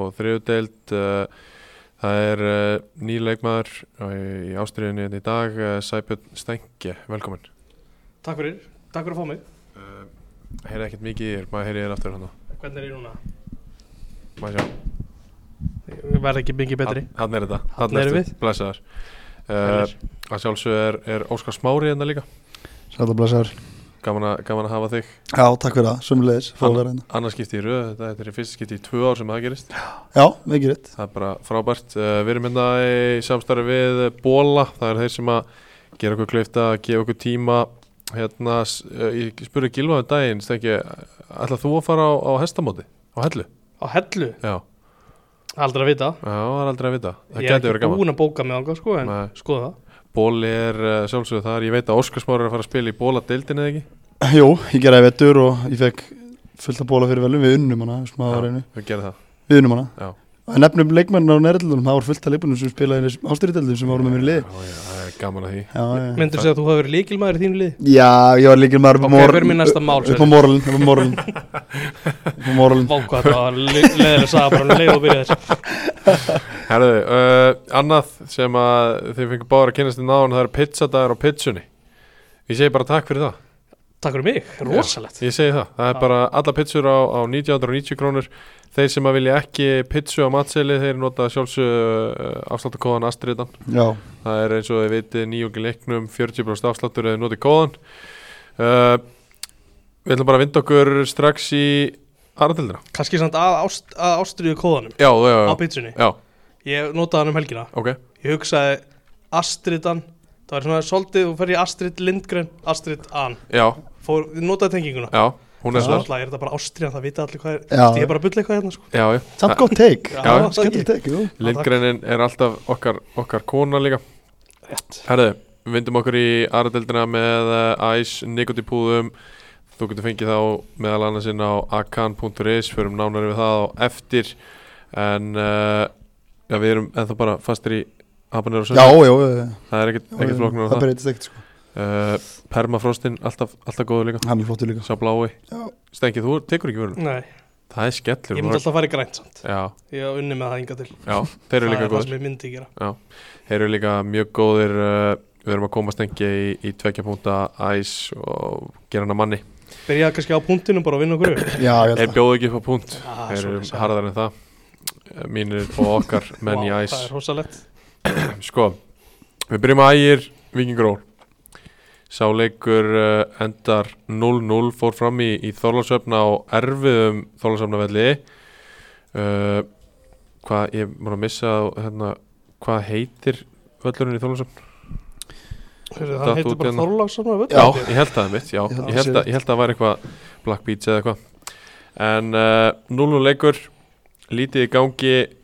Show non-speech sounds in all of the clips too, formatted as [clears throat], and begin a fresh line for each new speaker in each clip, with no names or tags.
og þriðudeld uh, það er uh, nýr leikmaður og í ástriðinni í dag uh, Sæbjörn Stengje, velkomin
Takk fyrir, takk fyrir að fá mig
uh, Heyrði ekkert mikið í þér, maður heyrði þér aftur hann
Hvernig er ég núna?
maður sjá,
Ég verð ekki mikið betri
Hann- hann er þetta,
Þarna erum
ertu. blessaðar uh, að sjálfsög er, er Óskar Smári hérna líka,
Sæla blessaður.
gaman, a, gaman að hafa þig
Já, takk fyrir það, sömulegis, fá að
Hann-
vera hérna.
annars skipti í röð, þetta, þetta er í fyrsta skipti í tvö ár sem það gerist
Já, mikið rétt.
Það er bara frábært. Uh, við erum hérna í samstarfi við eh, Bóla. Það er þeir sem að gera okkur kleifta, gefa okkur tíma. Hérna, s- eh, ég spurði Gilva um daginn, stengi, ætlað þú að fara á, á hestamóti? Á hellu?
Á hellu,
Já,
aldrei að vita
Já, það er aldrei að vita. Það
Ég er
getur verið
ekki
gaman.
búin að bóka mig ánga sko en
Nei.
skoða það
Bóli er uh, sjálfsögðu þar. Ég veit að Óskarsmári er að fara að spila í Bóla-deildin eða ekki?
Jú, ég gerði vettur og ég fekk fullt að bóla fyrir velum, við unnum hana, sem að
Já.
var einu,
Við gerum það.
við unnum hana.
Já.
En nefnum leikmennin á nærildunum, það voru fullt að leikmennum sem spilaði í ástyriteldum sem voru með mér í liði.
Já, já, það er gaman að því.
Já, já.
Myndur segja að þú hafi verið líkilmaður í þínu lið?
já, ég var líkil maður
Ok,
upp á mor-
hver er minn næsta mál,
Upp á
Sverrir?
morlin, upp á
[laughs]
morlin. upp á morlin.
Vákvað, það var leður að sagða bara um leið og byrja þess
Herðu, uh, annað sem að þið fengur báður að kynast inn á það er pizzadagur á pizzunni. Ég segi bara takk fyrir það.
Takk fyrir mig, rosalegt
Ég segi það, það er
Já.
bara alla pizzur á, á 1990 krónur Þeir sem að vilja ekki pizzu á matseli þeir nota uh, sjálfsög afsláttakóðan Astriðan
Já,
Það er eins og þið vitið nýjungi leiknum 40% afsláttur eða notið kóðan uh, Við ætlum bara að vinda okkur strax í aðratildina
Kanski samt að, ást, að ástriðu kóðanum
Já, já,
á
já,
pizzunni
já,
Ég notaði hann um helgina
ok
Ég hugsaði Astridan Það var svona svolítið, þú fer ég Astrid Lindgren, Astrid An
Já,
Fór, notaði tenginguna
já, hún er
Já.
svar
Alltaf er þetta bara Ástriðan, það vita allir hvað er
Já.
Ég er bara að bulla eitthvað hérna sko
Já, já,
samt gott teik.
Já,
já.
Skemmtilegt teik, jú.
Lindgrenin er alltaf okkar, okkar kona líka
Rétt.
Herðu, við vindum okkur í aðradeldina með uh, Ice nikotipúðum Þú getur fengið þá meðal annars inn á akan.is Förum nánar yfir það á eftir En uh, já, við erum ennþá bara fastir í habanir og
Já, já, já, já.
Það er ekkert, ekkert flokknar á
það
það,
breytist ekkert, sko.
það. Uh, Permafrostin, alltaf, alltaf góður líka
Hann er flottur líka.
Sá blái
Já.
Stengi, þú tekur ekki vörun
Nei,
Það er skellur
Mm. ég myndi alltaf að fara í grænt samt
Já,
Ég hef unni með það hinga til
já, þeir eru
Það
líka
er það
góðir
sem ég myndi gera
Þeir eru líka mjög góðir uh, Við erum að koma stengi í, í tvekja púnta Ice og gera hann að manni
Byrja kannski á punktinu bara að vinna okkur upp
Já, ég held
Þeir
það.
bjóðu ekki upp á punkt
Ah,
Þeir eru
svoleiðis, já.
harðar en það Eh, Mínir og
[laughs]
okkar menn í
Vá,
æs
Það er rosalegt
[clears throat] Sko, við byrjum að ægir Víkingról Sá leikur uh, endar 0-0 Fór fram í, í Þorlarsöfna og erfiðum Þorlarsöfnavelli uh, Hvað, ég múin að missa á, hérna, Hvað heitir völlurinn í Þorlarsöfn?
Heyrðu,
Datt
Hann heitir
út
bara
hérna.
Þorláksson og
Já,
völlur
ég held það er mitt, já
Ég held
Ég
það sé
held að,
rétt.
ég held að það var eitthvað Black Beach eða eitthvað En uh, 0-0 leikur Lítið í gangi eh,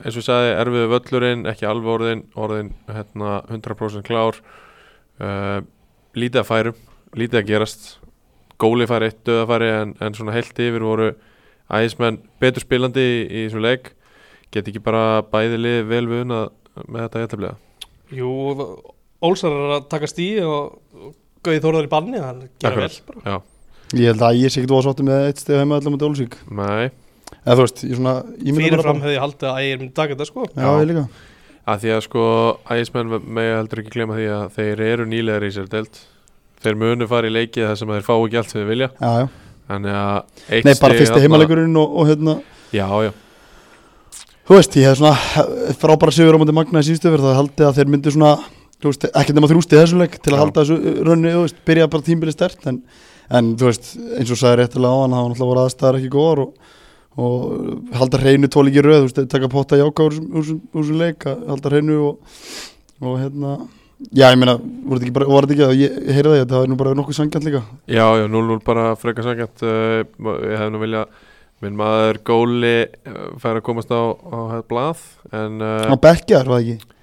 eins og ég sagði erfiðu völlurinn, ekki alveg orðin orðin hérna 100% klár uh, lítið að færum lítið að gerast góli færi eitt döðafæri en, en svona heilt yfir voru æðismenn betur spilandi í, í þessum leik get ekki bara bæði lið vel við unna með þetta jættablega
Jú, Ólsar er að taka stí og og Gauði Þórðar í banni Hann gera
Akkurat.
vel bara
Ég held að ég sé ekkert ósátti með eitt stef heima allar með Dólsvík.
Nei,
Eða þú veist, ég svona, ég myndi bara
Fyrirfram
fram.
hefði ég haldið að ægir myndi taka þetta sko
Já, ég líka.
að því að sko æðismenn með heldur ekki glemma því að þeir eru nýlegar í sér delt þeir munu fara í leiki þar sem þeir fá ekki allt sem þeir vilja
Já, já.
þannig að eitt
Nei, bara
stig
fyrsti
eh, þarna-
heimalegurinn og, og hérna
Já, já,
Þú veist, ég hef svona frábæra sigur á móti Magna í síðustu verð Það haldi að þeir myndi svona þú veist, Ekki nema þrústi þessu leik Til að
Já.
halda þessu rönni, þú veist Byrja bara tímbili stert En, en þú veist, eins og sagði réttilega á hann Það var náttúrulega voru aðstæðar ekki góðar Og, og halda hreinu tóli ekki röð Þú veist, taka potta jáka úr þessum- úr þessum úr þessum leik að Halda hreinu og, og hérna Já, ég meina, voru þetta ekki bara, var þetta ekki að ég, ég heyri það, ég, það er nú bara nokkuð sangjant líka.
já, já, 0-0 bara frekar sangjant uh, ég hef nú vilja minn maður góli uh, fær að komast á, á hæð blað en
Á
uh,
bekkjar, var það ekki?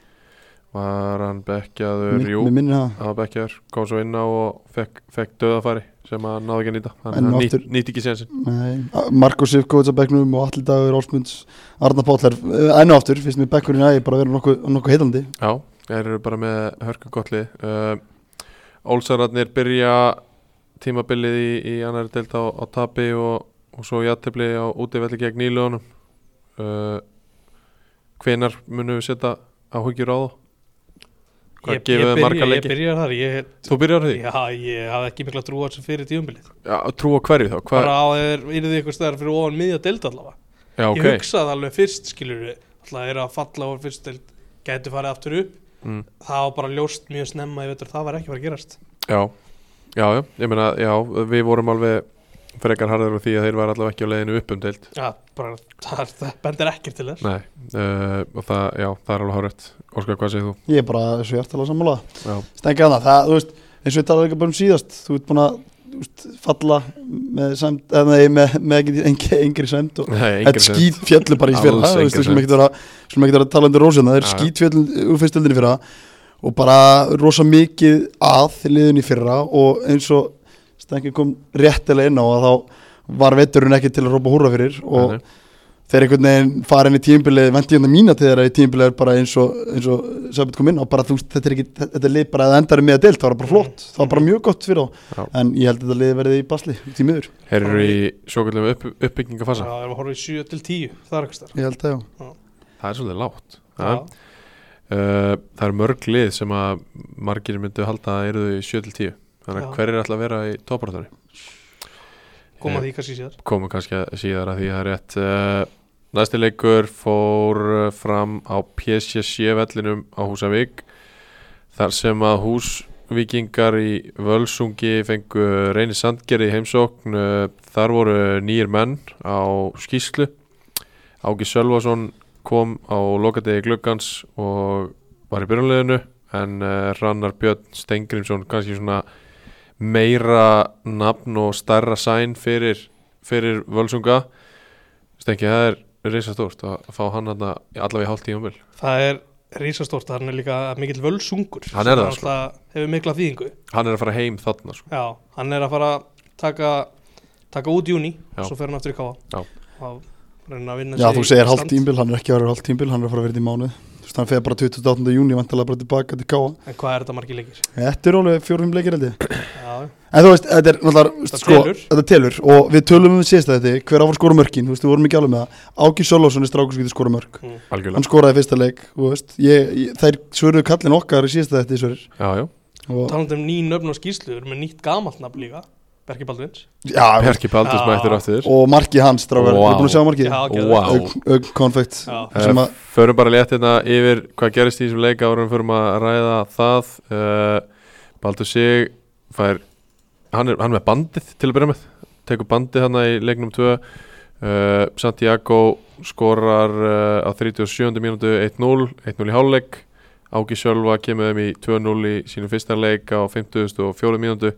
var hann bekkjaður,
Mér
jú
mér minnir það.
hann var bekkjaður, kom svo inn á og fekk, fekk döðafæri sem hann náði ekki að nýta
En
þannig að nýtt,
aftur-
nýtt ekki séðan
Marko Sivkovic á bekknum og allir dagur Ásmunds Arna Pállar eh, enn og aftur, finnst mér bekkurinn ægi bara að vera nokkuð nokku heilandi
Já, þeir eru bara með hörku gotli uh, Ólsararnir byrja tímabilið í, í annari deilt á, á tapi og, og svo jættibli á útivelli gegn nýlunum uh, hvenar munum við setja áhugjur á það? Hvað
Ég-
gefið
ég
þið
byrja-
marga leiki?
Ég byrjar þar, ég,
Þú byrjar á því?
já, ég hafði ekki mikla trú á þessu fyrir tíumbilið
Já, trú á hverju þá? Hva?
Bara á að þeir yrði ykkur stæðar fyrir ofan miðja deild allavega
Já, ok
Ég hugsaði alveg fyrst, skilur við Alltaf þeir eru að falla ofan fyrst deild Gætu farið aftur upp
mm.
Það var bara ljóst mjög snemma, ég veitur, það var ekki bara að gerast
Já, já, já, ég meina, já, við vorum alveg frekar harður á því að þeir var allavega ekki á leiðinu upp um deild
Já, bara, það, það bendir ekkert til þess
Nei, uh, og það, já, það er alveg hárætt Óskar, hvað segir þú?
Ég er bara svo hjartalega sammála
Já,
Stengi að það, það, þú veist, eins og við talaðum ekki bara um síðast Þú ert búin að þú veist, falla með, sæmd, eða, nei, með, með engin, engin, engri sæmd og
[laughs] Nei, engir
Þetta skýt fjallu bara í fyrra
Alls
þú veist,
engin
Við skulum ekkert vera- við skulum ekkert vera að tala undir rósina Það er
Já, já.
skýt fjallu úr fyrstöldinni fyrra Og bara rosa mikið að liðinni fyrra Og eins og Stengi kom réttilega inn á að þá var veturinn ekki til að rópa húra fyrir og
Nei, nei.
þeir einhvern veginn fara inn í tímbilið vendi ég hann að mína til þeirra í tímbilið er bara eins og, eins og Sabit kom inn og bara þú veist þetta er ekki, þetta er lið bara að endari með að deilt það var bara flott,
Mm.
það var bara mjög gott fyrir þá
Já.
en ég held að þetta lið verði í basli, því miður
Þeir eru í svokullum upp, uppbyggingafasa
Já, það er að horfa í 7 til 10, það er ekkert stær
ég held að já,
Það er svolítið lágt ja.
Já,
uh, Það er mörg lið sem að margir myndu halda að eru í 7-10 Þannig
Já.
að hver er alltaf að vera í topparáttunni?
koma því kannski síðar
Komum kannski að- síðar að því það er rétt uh, Næsti leikur fór uh, fram á PSG vellinum á Húsavík þar sem að húsvíkingar í Völsungi fengu reyni sandgerði í heimsókn uh, þar voru nýjir menn á skýslu Áki Sölvason kom á lokadegi gluggans og var í byrjunleginu en uh, Rannar Björn Stengrimsson kannski svona meira nafn og stærra sæn fyrir, fyrir Völsunga Stengi, það er reysa stórt að fá hann þarna allavega í hálft tíma vil
Það er risastórt, hann er líka mikill völsungur
Hann er
sem
það, sko.
náttúrulega Hefur mikla þýðingu
hann er að fara heim þarna sko.
Já, hann er að fara að taka, taka út júni
Já.
og svo fer hann aftur í
Já.
káa og reyna að vinna
já
sig
þú
í
segir
stand.
halvt tímbil, hann er ekki að vera halvt tímbil hann er að fara að vera í mánuð, þú veist hann fer bara 28. júni vantilega bara tilbaka til káa
En hvað er þetta margir leikir?
þetta er alveg fjórum leikir held ég
Já,
En þú veist, þetta er náttúrulega,
Þetta
sko,
telur.
þetta telur og við tölum um síðast að þetta, hver á að fara að skora mörkin, þú veist, við vorum ekki alveg með það, Áki Sölvason er strákur sem getur skora mörk,
mm.
algjörlega
hann skoraði fyrsta leik þú veist, ég, ég, þær svöruðu kallin okkar í síðasta þetta í svörir
já, já.
og,
Talandi um ný nöfn og skýrsluður með nýtt gamalt nafn líka Berki Baldvins
já,
Perki Baldur
Já.
mættir aftur
og marki hans strákar,
Vá.
wow. er búin að sjá markið
Já, geðveikt.
Vá.
Augn- augn konfekt
Já.
sem að,
Förum bara létt hérna yfir hvað gerist í þessum leik árum förum að ræða það uh, Baldur Sig fær, hann, er, hann er með bandið til að byrja með, tekur bandið hann í leiknum 2 uh, Santiago skorar uh, á 37. mínútu 1-0 1-0 í hálfleik Áki Sjölva kemur þeim í 2-0 í sínum fyrsta leik á 54. mínútu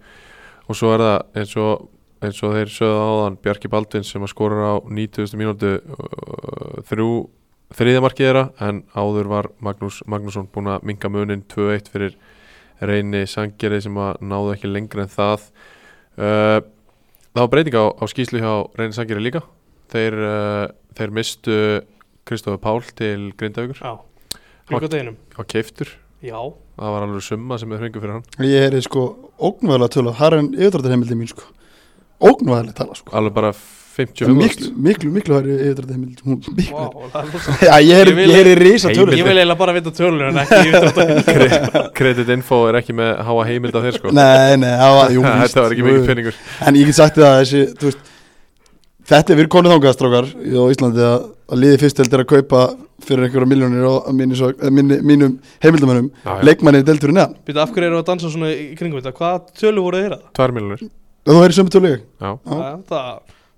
og svo er það eins og, eins og þeir sögðu áðan Bjarki Baldvin sem að skorar á 90. mínútu uh, þrjú þriðja markið þeirra en áður var Magnús Magnússon búinn að minga munin 2-1 fyrir reyni sangeri sem að náðu ekki lengra en það uh, það var breyting á, á skýslu hjá reyni sangeri líka þeir, uh, þeir mistu Kristofur Pál til Grindavíkur
Já, líka deginum
á keiftur
Já,
það var alveg summa sem þeir fengu fyrir hann
ég er sko ógnvæðilega tölu, það er enn yfirdrættarheimildi mín sko, ógnvæðilega tala sko
alveg bara
miklu,
55
miklu, miklu, miklu hæri yfirdrættarheimildi hún, miklu
wow, það er rosa
[laughs] Já, ég er,
Ég vil-
ég sko. er í risa
Heimildir.
tölu
Ég vil eiginlega bara vita tölur en ekki
[laughs]
yfirdráttar.
kreditinfo er ekki með háa heimild af þeir sko
Nei, nei, það var, jú, víst,
[laughs] þetta var ekki
jú,
mikið
jú.
peningur
En ég get sagt þér það að þessi, þú veist Þetta er við konið þangað strákar á Íslandi að, að liði fyrst heldur að kaupa fyrir einhverja miljónir á á minni, svo- eða minni, mínum heimildamönnum hérna.
Já, já.
leikmanni deltur neðan
Býta, af hverju eru að dansa svona í kringum þetta? Hvað tölur voru þeirra?
2 miljonir
og þú heyrir sömu tölu ég
já,
Já.
Það,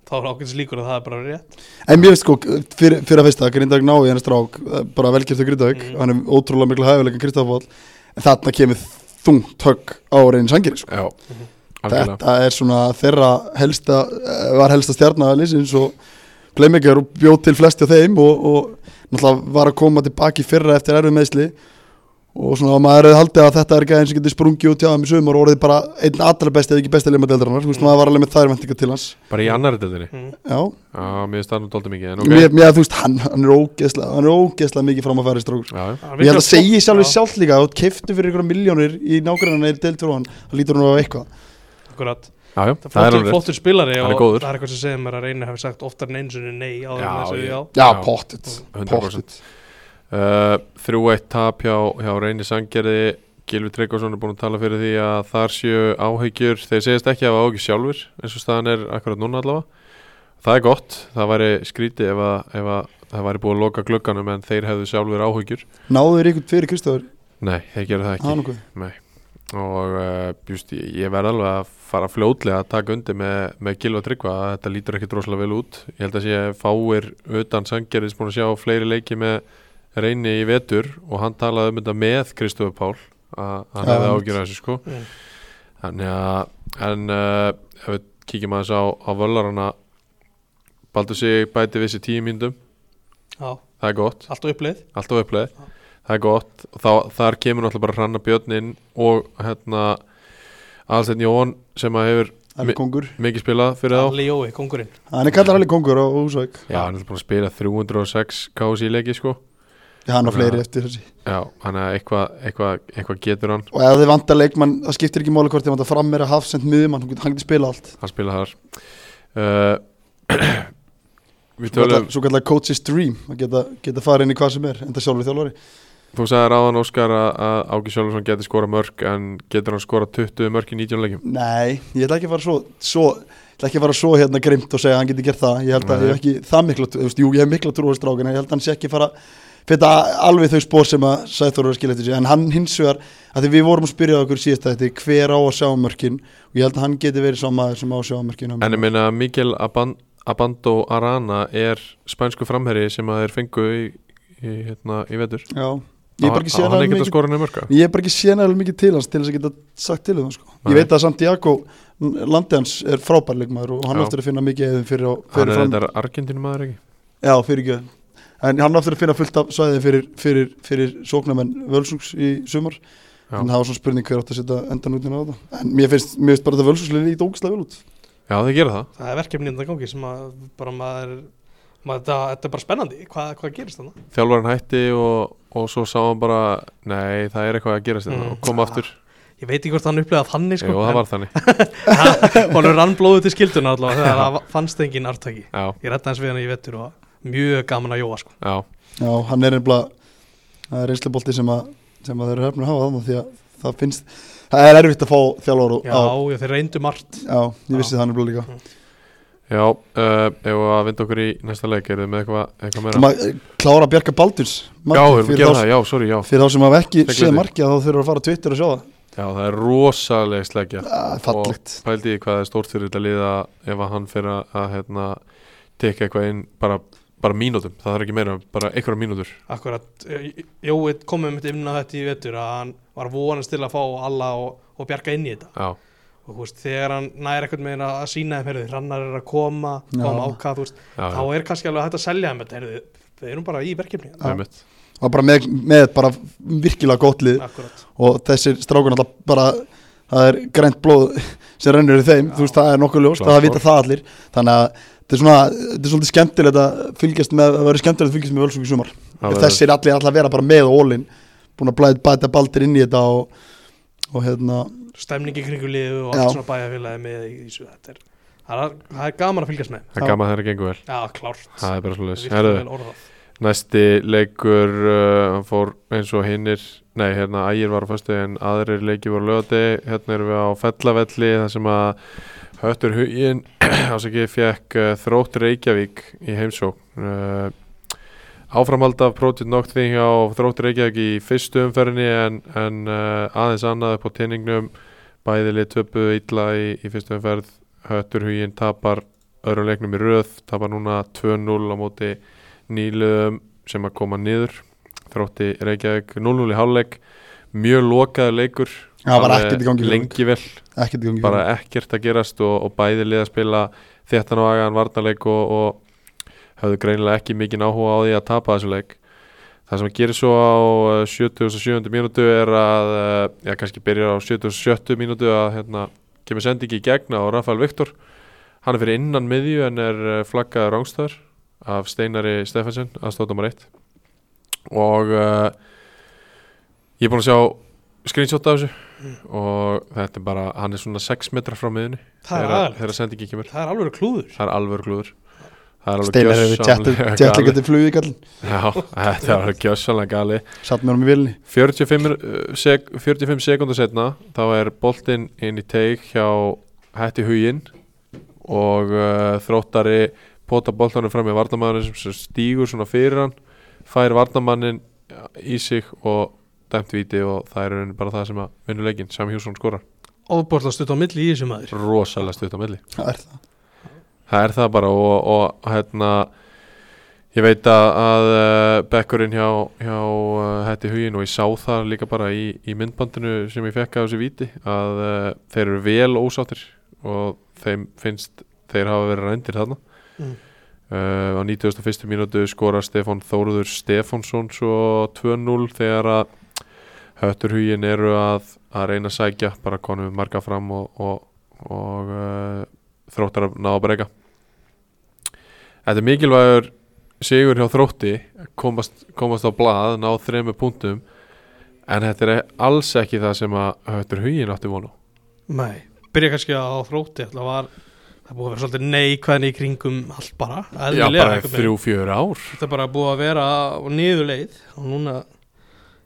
þá er ákveðs líkur að það er bara rétt
En mér veist sko, fyrir, fyrir að fyrsta Grindavík ná í hennar strák, eh, bara velgjörtu Grindavík
Mhm.
hann er ótrúlega miklu hæfileika Kristafál en þarna kemur þungt högg á reyni sangir sko.
já, Mhm. algjörlega
Þetta er svona þeirra helsta eh, var helsta stjarnaliðsins og playmaker og bjóð til flesti af þeim og, og náttúrulega var að koma tilbaki í fyrra eftir erfið meðsli og svona að maður hefði haldið að þetta er ekki eins og getur sprungið út hjá þeim í sumar og orðið bara einn allra besti eða ekki besti leima deildarinnar, þú veist maður var alveg með þær vendingar til hans
bara í annari deildinni
mm.
Já,
Já, mér finnst það nú dálítið mikið en ok
okay. mér, mér þú veist hann, hann er ógeðslega, hann er ógeðslega mikið fram að færi strókur
Já, já.
Ég held að segja í sjálfur sjálf líka að þú keftu fyrir ykkur miljónir í nákvæmlega deildur og hann, hann lítur hann á eitthvað
Akkurat
já, já,
Það er flottur, flottur spilari
Hann er
og
góður.
það er eitthvað sem segir mér að reyna hafi sagt oftar en einu sinni nei áður en
Já,
þessu
ég-
já.
Já,
Já.
pottit
100%
Pottit
Uh, 3-1 tap hjá, hjá Reyni Sangerði Gilvi Tryggvason er búin að tala fyrir því að þar séu áhyggjur þeir segist ekki að hafa áhyggjur sjálfur eins og staðan er akkurat núna allavega það er gott, það væri skrítið ef, að, ef að það væri búið að loka glugganum en þeir hefðu sjálfur áhyggjur
Náður ykkur fyrir Kristofur
nei, þeir gerðu það
Það
ekki
er nokkuð
og uh, just, ég, ég verð alveg að fara fljótlega að taka undir með, með Gilva Tryggva að þetta lítur ekki droslega vel út ég held að sé fáir utan Sangerðis búin að sjá fleiri leiki með reyni í vetur og hann talaði um þetta með Kristofur Pál að hann
Já,
hefði
einmitt.
ágjörð þessu sko
Mm.
þannig að en uh, ef við kíkjum aðeins á, á völlarana Baldur sig bæti við sér tíu mínútum
já,
það er gott,
allt á upplið
alltaf uppleið það er gott, og þá, þar kemur náttúrulega bara hranna björnin og hérna Alsteinn Jón sem að hefur
Alveg kongur
mikið spilað fyrir þá
Alli Jói, kongurinn
Hann er kallar alveg kongur á Úsvæk
já, hann er búin að spila 306 kási í leiki sko
Hann á fleiri eftir þessi
já, hann er eitthvað eitthva, eitthva getur hann
Og ef þið vantar leikmann, það skiptir ekki máli hvort þið vantar frammeyra hafsend miðjumann, hún getur hangið spila allt
hann spila þar uh, [clears throat] við
Svo
tölum
kallar- Svo kallar coach's dream að geta, geta farið inn í hvað sem er, enda sjálfur þjálfari
Þú sagði ráðan Óskar að, að Áki Sjálfsson getur skora mörg en getur hann skora 20 mörg í 19 leikjum?
Nei, ég ætla ekki að fara svo, svo ég ætla ekki að fara svo hérna grimt og segja að hann geti gert það ég held að
Nei.
ég hef ekki það mikla trú- þú veist, jú, ég hef mikla trú á strákan en ég held að hann sé ekki að fara feta alveg þau spór sem að Sæþór er að skilja eftir sig en hann hins vegar, að því við vorum að spyrja okkur síðast að þetta, hver á að sjá mörkin og ég held að hann geti verið sá maður sem á að sjá mörkin
En ég meina að Mikael Aban Abando Arana er spænsku framherri sem að þeir fengu í, í, hérna, í vetur.
Já, ég hef bara ekki
Á- á
séð
hann
hann
ekkert
mikið
að skora henni mörga.
Ég hef bara ekki séð nægilega mikið til hans til þess að geta sagt til það sko. Ég
Nei.
veit að Santiago, n- landi hans er frábærleikmaður og hann
Já.
áttur að finna mikið eðum fyrir, á-
Hann
fyrir
er
fram
þetta Argentínu maður ekki?
Já, fyrir ekki En hann áttur að finna fullt af svæði fyrir, fyrir, fyrir sóknarmenn Völsungs í sumar
Já.
En það var svona spurning hver átt að setja endan út á þetta En mér finnst, mér finnst bara þetta Völsungslega lítið ógæslega vel út
Já þeir gera það.
Það er verkefni innan gangi sem að bara maður, maður þetta, þetta er bara spennandi, hvað, hvað gerist þannig?
Þjálfarinn hætti og, og svo sá hann bara nei það er eitthvað að gerast þetta
Mm.
og kom aftur.
Ég veit ekki hvort hann upplegað þannig sko
Jú það var þannig.
[laughs] en Hún er rannblóðu til skilduna allavega þegar það fannst engin artaki
Já,
Ég redda hans við hann í vettur og mjög gaman að jóa sko
já.
Já, hann er einhverja reynslubolti sem, að- sem að þeir eru hefnir að hafa þannig Því að það finnst, það er erfitt að fá þjálfur
Já, já þeir reyndu margt
Já, ég vissi
Já.
það nefnilega líka
Já, uh, ef að vinda okkur í næsta leik erum við með eitthvað, eitthvað meira?
Ma, klára að bjarga Baldurs
Já,
markið,
erum við að
fyrir,
gera
þá,
það, já, sorry, já.
fyrir þá sem hafa ekki
Segðu
séð
þig.
markið þá þurfum við að fara á Twitter og sjá það
Já, það er rosalega sleggja
ah, fallegt
Pældi ég hvað það er stórt fyrir þetta liða ef að hann fyrir að, að hérna, teka eitthvað inn bara, bara mínútum það þarf ekki meira, bara einhverja mínútur
Akkurat, eh, Jói komum mitt inn á þetta í vettur að hann var vonast til að fá alla og, og bjarga inn í þetta
Já,
og þú veist, þegar hann næri eitthvað með að sína þeim, heyrðu, hrannar er að koma
Já.
koma ákað, þú veist,
já,
þá er kannski alveg hægt að selja þeim þetta, heyrðu, þeir eru bara í verkefni
já, einmitt.
og bara með, með bara virkilega gott lið
akkurat,
og þessir strákun alltaf bara það er grænt blóð sem rennur í þeim,
Já.
þú veist það er nokkuð ljóst
Klart
það vita það allir, þannig að þetta er svona, þetta er svolítið skemmtilegt að fylgjast með, það verður skemmtilegt að fylgjast með völsók í sumar
Það verður-
þessir allir alltaf að vera bara með ólinn búin að blæða bæta baldir inn í þetta og, og hérna,
stemningi kringu liðu og
Já.
allt svona bæjarfélagi með í þessu, þetta er það er, það er gaman að fylgjast með,
Það er gaman að það er gengur vel
já, klárt
Það er bara svolítið
virkilega
Herðu,
vel orðað.
Næsti leikur uh, hann fór eins og hinnir Nei, hérna ægir var á föstu en aðrir leiki voru lögati Hérna erum við á fellavelli þar sem að Höttur [clears throat] Hugin ásaki fekk uh, þrótt Reykjavík í heimsók uh, Áframhald af Project Noct því hjá þrótt Reykjavík í fyrstu umferðinni en, en uh, aðeins annað upp á tinningnum bæðili töpu illa í, í fyrstu umferð Höttur Hugin tapar öðrum leiknum í röð tapar núna 2-0 á móti nýluðum sem að koma niður þrótti Reykjavík 0-0 í hálfleik mjög lokaður leikur
það var
Alveg
ekkert í gangi fyrir mig.
lengi vel,
ekkert í gangi
bara
fyrir mig.
ekkert að gerast og, og bæði liða spila þéttan og agaðan varnarleik og, og höfðu greinilega ekki mikið áhuga á því að tapa þessu leik það sem gerir svo á eh, 77. mínútu er að eh, já, kannski byrjar á 77. mínútu að hérna, kemur sendingi í gegna á Rafael Viktor hann er fyrir innan miðju en er eh, flaggaður rángstöður af Steinari Stefansson að stóta maður eitt og uh, eh, ég er búin að sjá screenshot af þessu og þetta er bara, hann er svona 6 metrar frá miðunni
Það er
þegar
aðal
þegar sendingi kemur
Það er alveg klúður
það er alveg glúður það er
Steinar hefur
gjörsamlega
tjætla
galið.
getið flugið í gallin
Já, [laughs] þetta er alveg gjössalega gali
satt með honum í vilni
45, uh, sek, 45 sekundar setna þá er boltinn inn í teik hjá hætti huginn og uh, þróttari pota boltanum fram í varnamanninu sem stígur svona fyrir hann fær varnamannin í sig og dæmt viti og það er í rauninni bara það sem að vinnu leikinn, Sam Hjússon skorar
Ofborðla stutt á milli í þessu maður
rosalega stutt á milli
það er það
Það er það bara og, og hérna ég veit að, að eh, bekkurinn hjá, hjá eh, Hetti Hugin og ég sá það líka bara í, í myndbandinu sem ég fekk af þessu víti að uh, þeir eru vel ósáttir og þeim finnst þeir hafa verið rændir þarna
Mm.
uh, á 91. mínútu skora Stefán Þóruður Stefánsson svo 2-0 þegar að höttur hugin eru að, að reyna að sækja bara konum marga fram og, og, og uh, þróttar að ná að breyka Þetta er mikilvægur sigur hjá þrótti komast, komast á blað, ná þremur punktum en þetta er alls ekki það sem að höttur hugin átti vonu
Nei, byrja kannski á þrótti Það var, það er búið að vera svolítið neikvæðin í kringum allt bara
Já,
eðlilega
bara
einhvern veginn.
þrjú, fjör ár
Þetta er bara búið að vera á niðurleið og núna,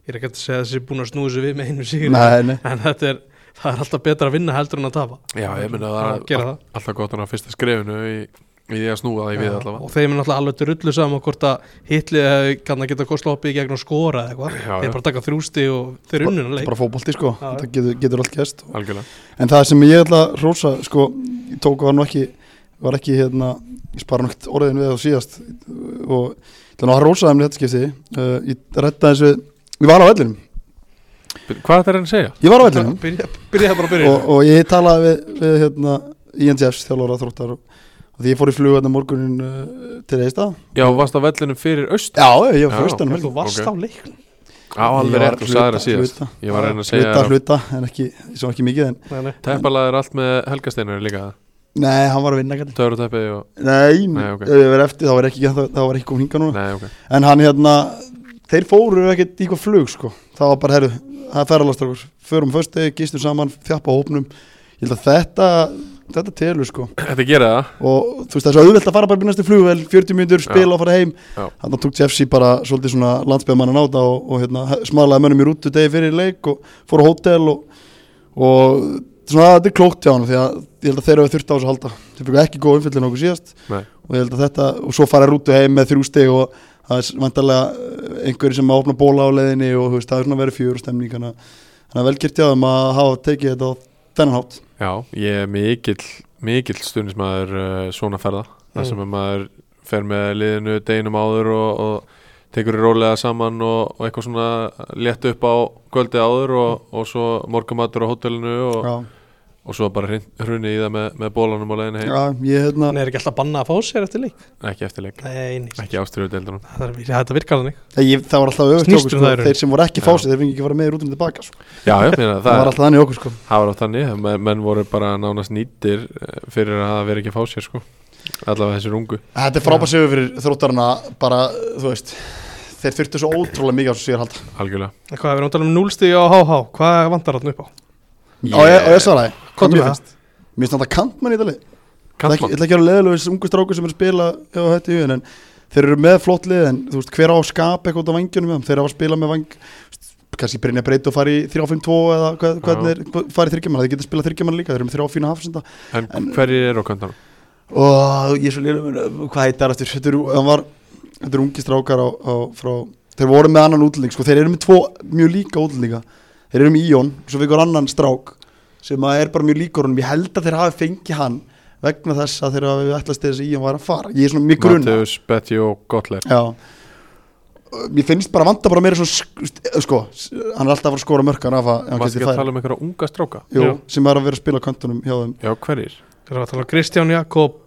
ég er ekki að segja að þessi búin að snúi sig við með einu sigur
nei, nei.
en þetta er, það er alltaf betra að vinna heldur en að tapa
Já, ég meina
Það
það er
gera það.
alltaf gott að ná fyrsta skrefinu í, í því að snúa það í við
Já,
allavega
og þeim er náttúrulega alveg drullu saman hvort að hitlið hefði kann að geta kost loppið í gegn og skora eða eitthvað,
Já,
þeir
já.
bara taka þrjústi og þeir eru unnuna
Það er
leik
bara fótbolti sko,
Já, já.
það getur, getur allt gæst
Algjörlega
en það sem ég ætla að rósa sko, ég tók var nú ekki var ekki hérna, ég spara nátt orðin við á síðast og ég ætla nú að rósa þeim í þetta skipti uh, ég rætta þessu, ég var á vellinum
Byrju, Hvað þetta er hann að segja?
ég var á
Bara
[laughs]
vellinum
byrja, byrja það bara að byrja
og, og ég talaði við, við hérna, Ian Jeffs þjálfara þróttar og, og því ég fór í flug hérna morgunin uh, til Eista
Já, varst á vellinum fyrir austan
já, ég var
Já.
fyrir austan um
En þú
helgina.
varst
Ok.
á leiknum
Á, alveg
Ég var
rétt, þú sagði það
hluta-
síðast
hluta-
Ég var að reyna að segja
hluta,
þér að
hluta, en ekki, ég sá ekki mikið en,
Nei, nei.
Teppalag er allt með helgasteinar líka
nei, hann var að vinna kallinn.
Töruteppið og
nei,
Nei,
nei
ok.
ef ég verið eftir þá var ekki, þá, þá var ekki komin hinga núna
Nei, ok
En hann hérna, þeir fóru ekkert í hvað flug sko Það var bara, herru, það er ferðalastrákur Förum föstu, gistum saman, þjappa hópnum Ég held að þetta, þetta telur sko
Þetta gera það
Og þú veist það er svo auðvelt að fara bara byrnast í flugvel 40 mínútur, spila og fara heim
Já.
Þannig tók Jeffsy bara svolítið svona landsbyðamannan áta Og, og hérna, smalaði mönnum í rútu degi fyrir leik Og fór á hótel og, og svona þetta er klókt hjá hann Því að ég held að þeir hafa þurft á þessu að halda Þeir fyrir ekki góð umfyllin okkur síðast
Nei,
og ég held að þetta, og svo fara rútu heim með þrjú stig og það er vantarlega einhverju sem að opna bóla á leiðinni og þú veist, það er svona verið fjör og stemning þannig að- þannig að velkjört hjá þeim að hafa tekið þetta á þennan hátt
já, ég er mikill mikill stundismæður uh, svona ferða
Mm.
þar sem að maður fer með liðinu deginum áður og, og tekur rólega saman og, og eitthvað svona létt upp á kvöldi áður og, og svo morgumatur á hótelinu og,
já,
og svo bara hrin- hrunni í það með, með bólanum á leiðinu heim,
já, ég hérna
Nei, er ekki alltaf að banna að fá sér eftir leik
ekki eftir leik
Nei, nei,
ekki ástriðudeldunum
það er- þetta virkar þannig
ég, það var alltaf öfugt hjá
Snýst
okkur
um
sko,
það í raun.
þeir sem voru ekki
Já.
fásið, þeir fengi ekki að fara með í rútum tilbaka sko.
já, já, meina,
það var
það,
alltaf þannig hjá okkur sko.
það var átt þannig men- menn voru bara nánast nýttir eh, fyrir að það veri ekki að fá sér sko allavega þessir ungu
þetta er frábært sigur fyrir þróttarana bara, þú veist þeir þurftu svo ótrúlega mikið á þessu sigur halda
algjörlega
En Hvað, við erum að tala um núlstíði á HH Hvað vantar þarna upp á?
yeah. og, ég, og ég svaraði,
Komdu
mér
með
finnst mér finnst þetta kantmann í dali Ég ætla ekki-
Kantmann.
ég ætla ekki að vera leðilega þessi ungu stráku sem er að spila hjá þetta í hugin en þeir eru með flott lið en þú veist hver á að skapa eitthvað út á vangjunum með þeim þeir á að spila með vang kannski Brynja Breit og fara í 3-5-2 eða hvað,
Já.
hvernig þeir fara í þryggjaman þeir geta spilað þryggjaman líka, þeir eru með 3-4 hafsenda
En, hverjir eru á kantanum?
og ég er svo liðlega hvað heitir aftur þetta eru, hann var, þetta eru ungi strákar á, á, frá, þeir voru með annan útlending sko, þeir eru með tvo mjög líka útlendinga þeir eru með Íon, svo fyrir annan strák sem að er bara mjög líkur honum ég held að þeir hafi fengið hann vegna þess að þeir hafi ætlast til þess að Íon var að fara ég er svona mjög grunna
Mateus, Betty og Gottler
já Mér finnst bara vanda bara meira svona sk- sko, hann er alltaf að fara að skora mörkan af að hann
Varst
geti
ekki að
færi,
tala um einhverja unga stráka?
jú,
Já.
sem er að vera að spila á kantunum hjá þeim,
Já, hverjir?
Erum við að tala um Kristján Jakob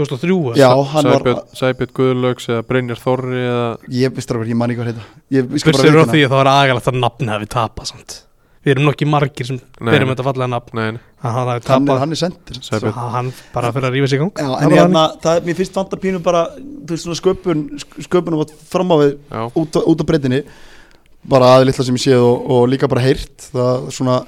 2003 eða?
já, hann var
Sæbjörn, Sæbjörn Guðlaugs eða Brynjar Þorri eða
ég, veist það, ég man ekki hvað heita ég, ég skal bara
Fyrst eru á
viðurkenna.
því að það var agalegt að nafni hafi tapað samt. Við erum nokkið margir sem
Nei.
berum þetta fallega nafn
Nei, nei,
að hann hafi
hann er,
tapað
hann er sendir
svo
Sæbjörn
hann- hann bara fyrir að rífa sig í gang
Já,
Það
en
var
hérna, það, mér finnst vantar pínu bara, þú veist, svona sköpun, sk- sköpun að fram á við
Já,
út á, út á breytinni bara aðeins litla sem ég séð og, og líka bara heyrt það er svona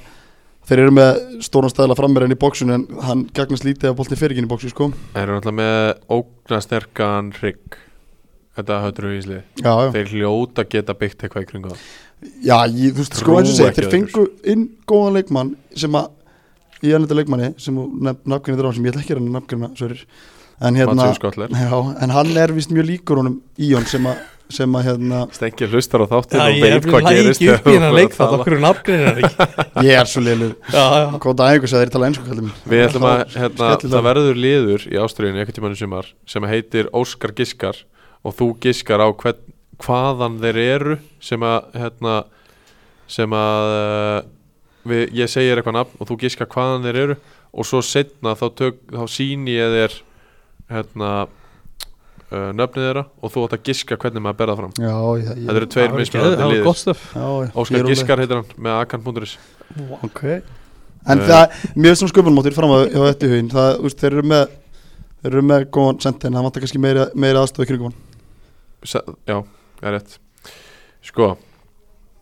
þeir eru með stóran stæðla frammeirinn í bóksun en hann gagnast lítið að boltin fer ekki inn í bóksu sko
Þeir eru náttúrulega með ógnasterkan rigg Þetta höfður við íslið
já, já.
Þeir hljóta geta byggt eitthvað í kringu það
Já, ég, þú veist, sko
Trúi
eins og segja,
ekki
þeir
öðru.
fengu inn góðan leikmann sem að í ennita leikmanni sem nafngrinni dráðan sem ég ætla ekki að reyna nafngrina, sverir en hérna,
Matsjóð Skotler
já, en hann er vist mjög líkur honum í hann sem að sem að hérna,
Stengi hlustar á þáttin
Já,
og
ég er
veit
fyrir
hvað
lægi
gerist
ekki upp í
þegar þú ert
hennar
að
leikþátt
tala.
okkur er nafngrinir ekki
ég er svo leilu
Já, já,
góða aðeins að þeir tala ennsku kallum
Við ætlum að, hérna,
Skellilega.
það verður liður í Ástriðinu einhvern tímann í sumar sem heitir Óskar Giskar og þú giskar á hvern, hvaðan þeir eru sem að, hérna, sem að eh, við, ég segir eitthvað nafn og þú giskar hvaðan þeir eru og svo setna þá, tök, þá síni ég þér hérna, uh, nöfnið þeirra og þú átt að giska hvernig maður berða fram.
Já, já,
Þetta
já,
eru tveir
það
mismunandi
var
liður.
gott stöf
já, já ég er
Óskar
róleg.
Giskar heitir hann með akan.is
Vá.
Ok En
Eh.
það, mjög sem sköpunmóttir fram á á þetta í hugin það, þú veist, þeir eru með þeir eru með góðan sentin, það vantar kannski meira, meira aðstofi kringum hann
Sa já, það er rétt Sko,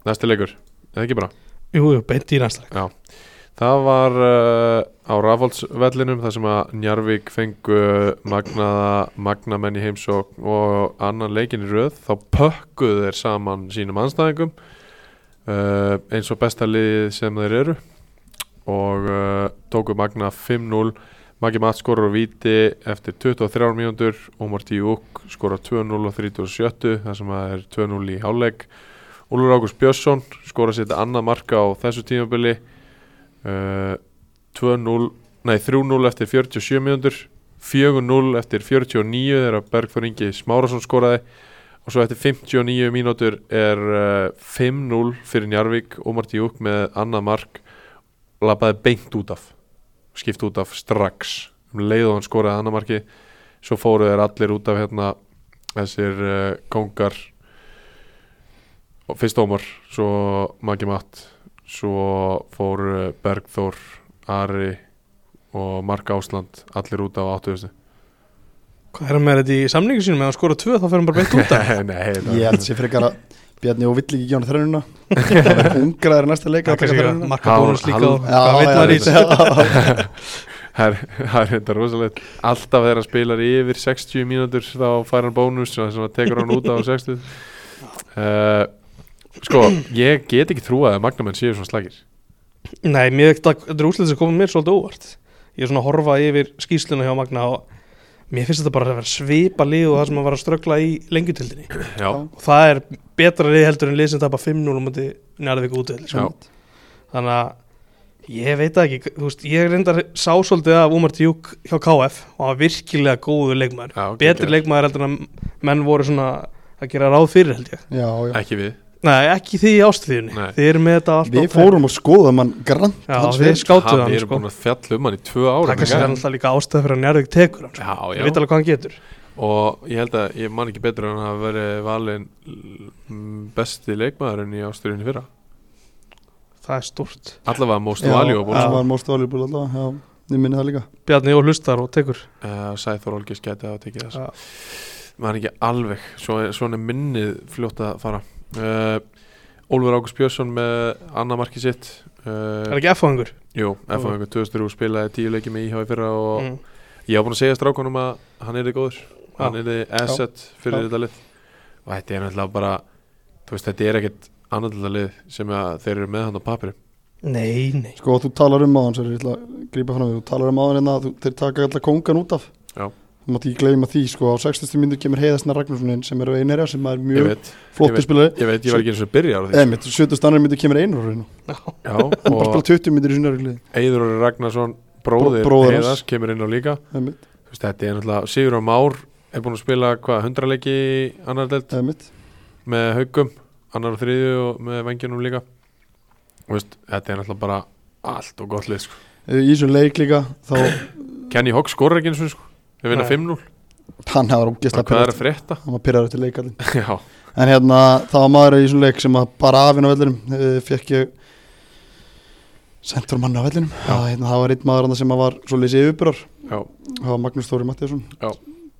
næsti leikur Eða ekki bara
Jú, jú, beint í næsta leik
já. Það var uh, á Rafaldsvellinum þar sem að Njarvík fengu eh, magnaða, magnamenn í heimsók og annan leikin í röð þá pökkuðu þeir saman sínum anstæðingum uh, eins og besta liðið sem þeir eru og uh, tóku Magna 5-0 Maggi Matt skorur á víti eftir 23 mínútur og Martí Júk skorur á 2-0 og 37 þar sem það er 2-0 í hálfleik Úlur Ágúst Björnsson skorur sitt annað marka á þessu tímabili uh, 2-0 nei 3-0 eftir 47 mínútur 4-0 eftir 49 þegar Bergþór Ingi Smárasson skoraði og svo eftir 59 mínútur er uh, 5-0 fyrir Njarvík og Martí Júk með annað mark labbaði beint út af skipt út af strax um leið og hann skoraði annar marki svo fóru þeir allir út af hérna þessir uh, kongar og fyrst Ómar svo Maggi Matt svo fóru Bergþór Ari og Mark Ásland allir út af áttuðustu
Hvað er hann með þetta í samningu sínum? Ef hann skora tvö þá fer hann bara beint út af
[laughs] Nei,
Ég held sér frekar að Bjarni og vill ekki ekki á hann þrænuna Það er hungraður næsta leik að taka þrænuna
Marka bónus
Hál-
líka og
hál-
hvað veit maður í þessu?
[laughs] það er- það er þetta rosalegt alltaf þegar hann spilar yfir 60 mínútur þá fær hann bónus sem sem hann tekur hann út á
[laughs]
60 uh, sko, ég get ekki trúað að magnamenn séu svona slagir
Nei, mér veit að þetta er úslið sem komið mér svolítið óvart Ég er svona að horfa yfir skýsluna hjá Magna og mér finnst þetta bara að vera svipa lið og það sem að vera að ströggla í lengjutildinni
já,
og það er betra lið heldur en lið sem tapar 5-0 um þetta njárvík útild
já,
sko. þannig að ég veit það ekki, þú veist, ég reyndar sá svolítið af Umar Djúk hjá KF og hann var virkilega góður leikmaður
já
betri
geggjað.
leikmaður heldur en að menn voru svona að gera ráð fyrir held ég
Já, já
ekki við
Nei, ekki því í ástriðinni,
Nei.
þið eru með þetta
Við
alltaf
fórum að skoða mann grant
Já,
hans
við
fyrir
skátuðu
Ha,
hann
við erum
sko
búin að fjalla um hann í tvö ára
Það kannski er alltaf líka ástæða fyrir að Njarðvík tekur hann sko.
já, já.
Ég veit alveg hvað hann getur
og ég held að ég man ekki betur en að hafa verið valin mm, besti leikmaðurinn í ásturinn í fyrra
Það er stort
allavega most value og
Það
bónus
var most value búin alltaf Já, ég minni það líka
Bjarni og hlustar og tekur
uh, Sæþór Olgis geti að tekið þess
Já.
maður ekki alveg svo, svona er minnið fljótt að fara uh, Ólfur Ágúst Björnsson með annað marki sitt
Er
uh,
ekki F-fangur
Jú, FH 2003 spilaði tíu leiki með íhá í fyrra og
mm.
ég var búin að segja strákunum að hann er góður hann er asset fyrir
Já.
þetta lið og þetta er náttúrulega bara þú veist, þetta er ekkert annarlega lið sem að þeir eru með hann á papir
Nei, nei
Sko, þú talar um áðan, sér, ég ætla að grípa fram við Þú talar um áðan hérna, að þú, þeir taka alltaf kongan út af
Já.
Þú mátt ekki gleyma því, sko, á 60. myndu kemur heiðasna Ragnarsson inn sem er á einherja sem er
ég
mjög
veit,
flottur spilari
ég veit, ég var ekki eins og byrja á því
Eða mitt, 70. annar myndu kemur einur hérna
Já,
Hún [laughs] bara
og
spila 20 myndir í sinni regli
Eður Ragnarsson bróðir
Bró- bróðir hans.
Heiðars kemur inn á líka
Eða mitt,
Þú veist, þetta er náttúrulega Sigur og Már er búin að spila hvað, 100 leiki í annar delt
eða mitt
með haugum, annar og þriðju og með vengjunum líka Þú veist, þetta er náttúrulega bara allt og gott lið sko.
Í þessum leik líka, þá [clears throat]
Kenny Hogg skorur ekki eins og sko. við vinna
Nei.
5-0,
hann
hvað
hefur
er
ógeðslega
að
pirraður.
frétta?
Hann var pyrraður eftir leik allir
Já,
En hérna, það var maður í þessum leik sem að bara af hérna á vellinum eh, fekk ég sendur manna á vellinum það, hérna, það var einn maður hann sem að var svo leysið yfirbúrar
já
það var Magnús Þóri Mattiasson
Já.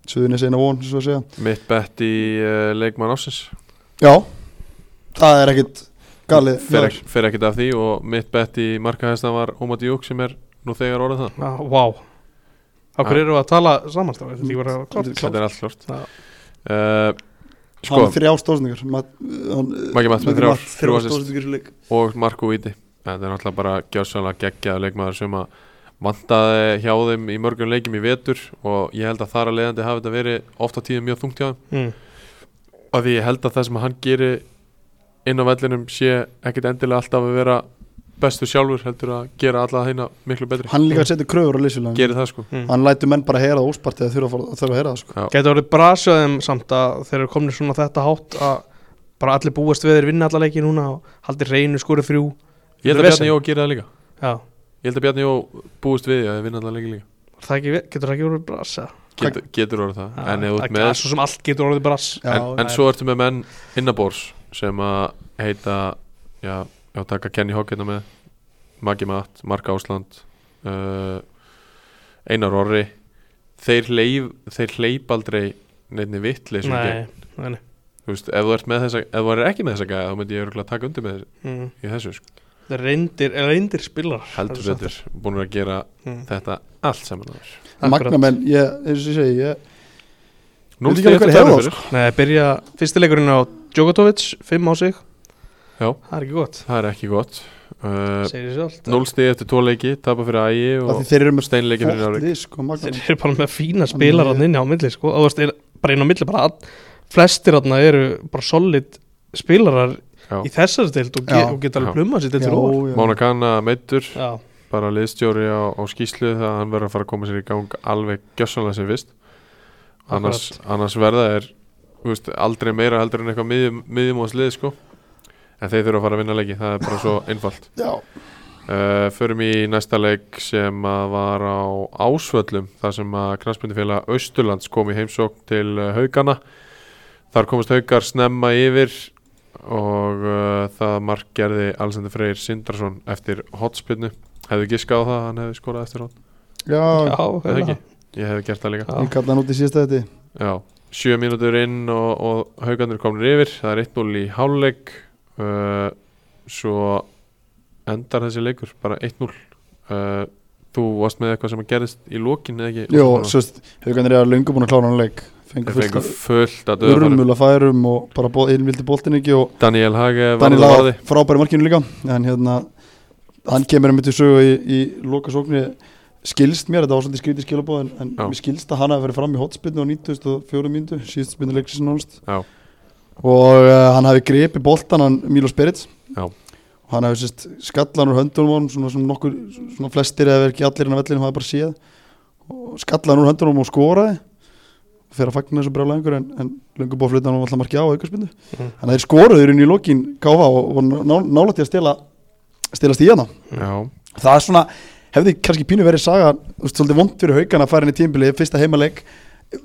Suðunis eina von, svo að segja
eh, Mitt bett í uh, leikmann ásins
Já, það er ekkit galið
fer, ek, fer ekkert af því og mitt bett í markahæsta var Óma Djúk sem er nú þegar orðið það
Vá wow. Akkur
Já.
eru að tala samanstráð Þetta er ekki bara klart
Þetta
þetta er allt klart
Já.
uh,
sko,
sko,
hann þrjá stóðsningar Maggi
Maggi Mats með þrjár, þrjú assist.
stóðsningar leik
og Marko Víti þetta er náttúrulega bara gjörsanlega geggjaðu leikmaður sem að vantaði hjá þeim í mörgum leikjum í vetur og ég held að þar að leiðandi hafi þetta verið oft á tíðum mjög þungt hjá þeim
mm.
og því ég held að það sem hann gerir inn á vellinum sé ekkit endilega alltaf að vera bestu sjálfur heldur að gera alla þeina miklu betri
hann líka að setja kröfur á leysulega
gerir það sko
hann lætur menn bara heyra það óspart eða þurfa að fara- þurfa að heyra það sko.
mm. Gæti orðið brasjaðum samt að þeir eru komni svona þetta hátt að bara allir búast við þeir vinna alla leiki núna og haldir reynu skori þrjú
ég held að Bjarni Jó gerir það líka
Já,
ég held að Bjarni Jó búist við því að þið vinna alltaf leiki líka
Var það ekki, getur það ekki orðið brasa
getur, getur orðið það en, ef þú ert
Ah, það
með,
er svo sem allt getur orðið bras
Já,
en, en
það
svo ertu með menn innabors sem að heita já, já taka Kenny Hogg hérna með Maggi Matt, Mark Ásland uh, Einar Orri þeir, leif, þeir hleyp aldrei neittni vittli
Nei,
ef
nei, nei.
þú ert með þessa, ef þú er ekki með þessa gæða þá myndi ég örugglega taka undir með
Mm.
í þessu sko.
Það er reyndir, er reyndir spilar
heldur betur, búin að gera
mm.
þetta allt saman aður
magna menn, ég, eins og ég segi ég,
Núl
Veit ekki alveg
stíð
hverju
eftir
hefur
tölur
það,
fyrir
Nei, byrja fyrsti leikurinn á Djokotovic, fimm á sig
Já.
Það er ekki gott,
það er ekki gott uh,
segir þessi allt
Núl stíð eftir tvoleiki, tapa fyrir ægi
af
og
því þeir eru með
steinleiki fyrir Njárvík
fóttið sko, magna
Þeir
menn.
eru bara með fína
Þannig
spilar
að-
hann inni á milli sko. og þú veist, er, bara inn á milli bara all, flestir hann eru bara solid spilarar
Já.
í þessari deild og, ge
Já.
og geta
Já.
alveg plumma sér
Já,
til þrjóð
já.
Mána Kanna meittur,
Já,
bara liðstjóri á, á skýslu það að hann verður að fara að koma sér í gang alveg gjössanlega sem fyrst annars, annars verða er þú veist, aldrei meira heldur en eitthvað miðjum, miðjum sko en þeir þurfa að fara að vinna leiki, það er bara svo einfalt
Já,
uh, Förum í næsta leik sem að var á Ásvöllum þar sem að knastmyndifélag Austurlands kom í heimsókn til uh, Haugana Þar komast Haugar snemma yfir og uh, það mark gerði Alexander Freyr Sindrason eftir hotspinnu Hefðu giskað á það, að hann hefði skorað eftir hot
já,
já,
Eða
hérna.
ekki? Ég hefði gert það líka
ég kallaði hann út í síðasta þetta
Já, sjö mínútur inn og, og haugarnir komnir yfir, það er 1-0 í hálfleik uh, svo endar þessi leikur bara 1-0 uh, Þú varst með eitthvað sem gerðist í lokin eða ekki?
Jó, svo veist, haugan er löngu búin að klára hann leik
Þeir
fengur
fengu
fullt
fullt að
af
döða
urmulega færum og bara bóð, einn vildi boltin ekki og
Daniel Hage var
Daniel
á
Laga
varði
frábæri markinu líka en hérna hann kemur einmitt í sögu í, í lokasóknu skilst mér, þetta var svolítið skrítið skilabóð en, en
Já.
mér skilst að hann hafi verið fram í hotspinnu á 94 mínútu, síðust spinnu leiksins nánast
Já.
og uh, hann hafi grepið boltan hann Mílo Spirits
Já.
og hann hafi sérst skallan úr höndunum á honum svona sem nokkur, svona flestir eða ekki allir hann að vellinu hafi bara séð og skallan úr höndunum og skoraði fyrir að fagna þessu brjálega einhver en, en löngu bóð flutan hann alltaf marki á aukarspinnu
Mhm.
þannig að þeir skoruður inn í lokin KH og voru ná, nálætti að stela stelast í hana
Já,
það er svona, hefði kannski pínu verið saga þú veist, svolítið vond fyrir haugan að fara inn í tímbili fyrsta heimaleik,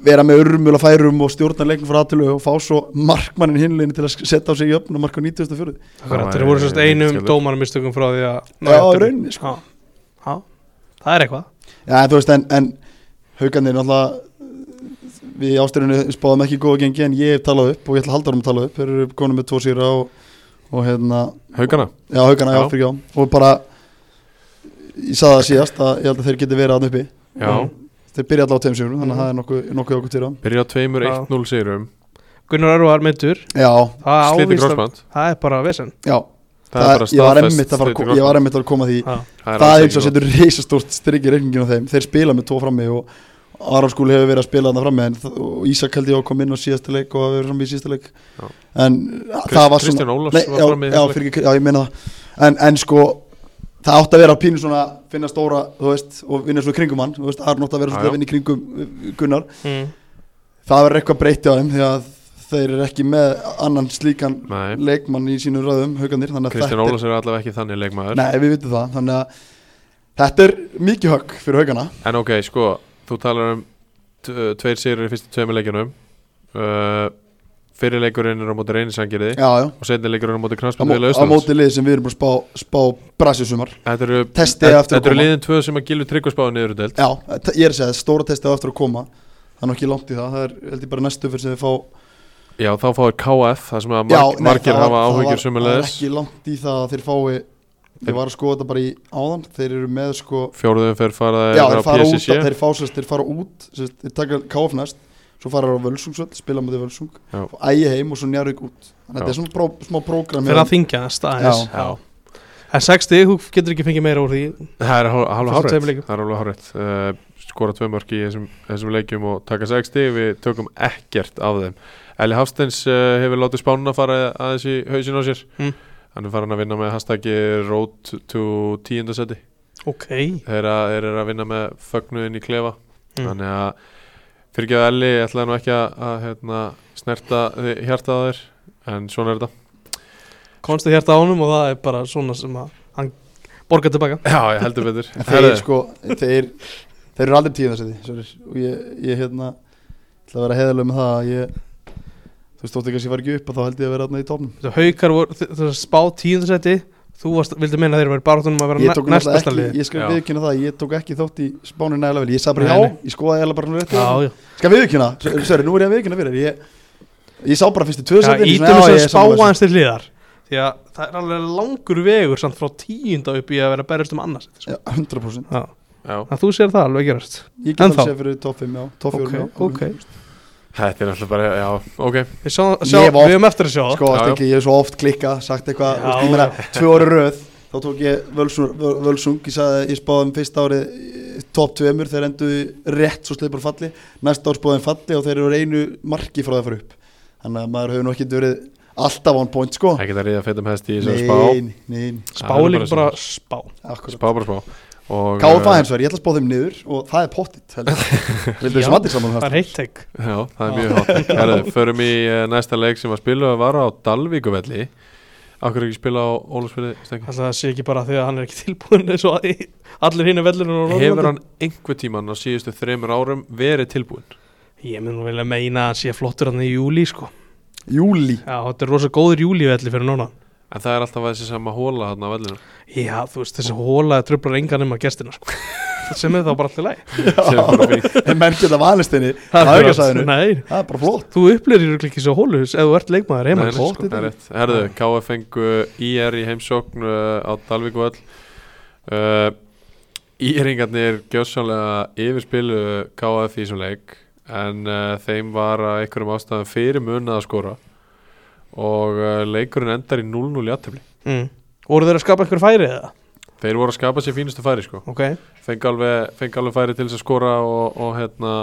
vera með urmul að færum og stjórna leikum frá aðtölu og fá svo markmannin hinlegin til að setja á sig í öfn og marka 94
Það
Akkurat, Þeir
væri
voru sérst einum
skemmtilegt.
dómarmistökum frá því að
Já, í rauninni,
sko Já, það er eitthvað
Já, en þú veist, en, en haugarnir náttúrulega við í ástyrjunni spáðum ekki góða gengi en ég hef talað upp og ég ætla að halda um að tala upp þeir eru konum með tvo síra og, og hérna,
haugana
já haugarna, já,
Já.
fyrir já og bara ég saði það síðast að ég held að þeir geti verið aðn uppi
Já,
Mm.
þeir byrja alltaf á tveim sigurum, þannig
Mhm.
að það er nokkuð nokkuð okkur til á
byrja á tveimur
Já.
1-0 sigurum
Gunnar Örvar meittur,
Já,
það
Sliti
ávist að,
krossband
það er bara vesen
já,
Það er bara
ég var
staðfest
einmitt að fara,
sliti
að- ég var einmitt að koma að því
Já,
Það
það
alls
er eins og
ekki
setur reysastórt strikk í reikningin á þeim þeir spila með tvo frammi og Araskúli hefur verið að spila þarna frammi en, þ- og Ísak held ég að koma inn á síðasta leik og að vera frammi í síðasta leik
Já.
en
gott.
það var svona
Kristján Ólafs
nei,
var
já,
fram í
já,
þessu leik.
fyrir, ekki- já, ég meina það en, en sko, það átti að vera pínu svona finna stóra, þú veist, og vinna svona í kringum hann þú veist, Aron átti að vera
Já,
svona
já.
að vinna í kringum uh, Gunnar
mm.
það verður eitthvað breytti á þeim því að þeir eru ekki með annan slíkan
Nei,
leikmann í sínum röðum, haugarnir þannig að
Kristján
þetta er-
Ólafs er allavega ekki þannig leikmaður
Nei, við vitum það, þannig að þetta er mikið högg fyrir haugana
En ok, sko, þú talar um t- tveir sýrur í fyrstu tveimur leikjunum uh, fyrir leikurinn er á móti reynisangirði
Já, já,
og setni leikurinn er á móti
á, mó
knarspundið
á móti liði sem við erum búin að spá, spá brasið sumar
Þetta eru,
Testið
þetta
eftir að
þetta eru
koma
liðin tvö sem að gilvi tryggvarspáði niður delt
Já, t- ég er að segja, stóra testið eftir að koma Það er nú ekki langt í það, það er held ég bara næstu fyrir sem við fá
Já, þá fáir KF, það sem að marg,
nei,
margir
það var-
hafa
það var-
áhyggjur sömulegis
Það er ekki langt í það að þeir fái Ég var að skoða þetta bara í áðan Þeir eru með sko
Fjóruðum fer fara
Já, þeir fara út,
PSC
þeir fá sérst, þeir fara út sérst, Þeir taka KF næst Svo fara þeir á Völsungsvöld, spila með þeir Völsung
Já.
og Ægi heim og svo njárvík út Þannig að þetta er svona pró, smá prógram
fyrir að þingja það staðins
Já. Já.
Það er 60, þú getur ekki fengið meira úr því
Það er hál- hálfa
Fyrstu tveim
hárætt
leikjum.
Það er hálfa hárætt uh, Skora tvö mörk í þessum, þessum leikjum og taka 60 Við tökum ekkert af þeim Eli Hafsteins uh, hefur látið spána fara aðeins í hausin á sér
Mm.
Hann er farin að vinna með hashtaggi Road to 10. seti
Ok,
Þeir eru að- þeir eru að vinna með fögnuðin í klefa
Mm.
Þannig að fyrirgeðu Elli, ég ætlaði nú ekki að, að hérna, snerta þi- hjartað á þér En svona er þetta
konstið hérta ánum og það er bara svona sem að hann borgar tilbaka
Já, ég heldur betur
En
Herðu,
þeir sko, þeir þeir eru aldrei tíðan þessi því og ég, ég hérna ætla að vera heiðalega með það að ég þú veist, þótt ekki að ég var ekki upp og þá held ég að vera þarna í topnum
Þessi Haukar voru, þess að spá tíundarsæti Þú varst, vildi meina að þeir eru barðunum að
ég
vera
tók
næ- næst
náttúrulega
besta
ekki,
liði
ég skal
Já.
viðkynna það ég tók ekki þótt í spánu nægilega vel ég sagði bara
Nei,
já, ég skoðaði eiginlega bara nú rétt
Já, já,
skal viðkynna, sörri, nú er ég að viðkynna fyrir þér. ég, ég sá bara fyrst í
já
tvöðsættin
ítum þess að spá aðeins til liðar Því að það er alveg langur vegur samt frá tíunda upp í að vera að berjast um annars
já, 100%
Já,
já,
að þú sér það alveg gerast
ég get
Ennþá?
alveg séð fyrir top 5, já, top 4
Ok,
já,
ok
þetta er alltaf bara, já, ok
Við sjá,
Ég
sjá,
hef oft-
við höfum eftir að sjá það
sko,
Já, já.
já, ekki, ég hef svo oft klikkað, sagt eitthvað
Já,
þú veist, ég meina, tvö ári röð þá tók ég Völsung, Völ- Völsung ég, sagði, ég spáði um fyrsta árið eh, top 2 þeir enduðu rétt svo sleipur falli næsta ár spáði um falli og þeir eru á einu marki frá það fyrir upp þannig að maður hefur nú ekki verið alltaf án point sko
Ekki það ríða feitum hest í þessu spá
nein, nein,
Spá
Það
er
er
líka bara
bara
spá
akkurat
Spá bara spá Og, eh,
Káfa hins vegar, ég ætla að spá þeim niður og það er pottitt
[laughs]
Vildu
Já.
þessum allir saman
Það er heitt tek
uh, Já, það er mjög hátt Herðu, förum í uh, næsta leik sem að spila var á Dalvíkuvelli Akkur ekki spila á Ólafsfjörði Stengi
Alltaf það sé ekki bara því að hann er ekki tilbúin eins og í- allir hinn er vellurinn á
Hefur
Norðurlandi
hann einhver tíman á síðustu þreymur árum verið tilbúinn?
Ég mun nú vilja meina að hann sé flottur hann í júli sko
Júli
Já, þetta er rosa góður júli velli fyrir núna
En það er alltaf þessi sama hóla hann á vellinu
Já, þú veist, þessi hóla tröflar engan um að gestina
[laughs]
sko sem er þá bara allir læg
[laughs] Sem er
[laughs]
bara fínt.
En menn geta valist henni Það er ekki að sagðinu
Nei,
Það er bara flott
þú upplýrir ekki þessi hólu ef þú ert leikmaður
Nei,
heima
nei, sko, það er rétt. Herðu, KF fengu IR í heimsókn uh, á Dalvíkvöll uh, Íringarnir gjössanlega yfirspilu KF í þessum leik en uh, þeim var að einhverjum ástæðum fyrir munað að skora og uh, leikurinn endar í 0-0 í aðtefli
mm. Voru þeir að skapa einhver færi eða?
Þeir voru að skapa sér fínustu færi sko
Ok,
fengi alveg, fengi alveg færi til þess að skora og, og hérna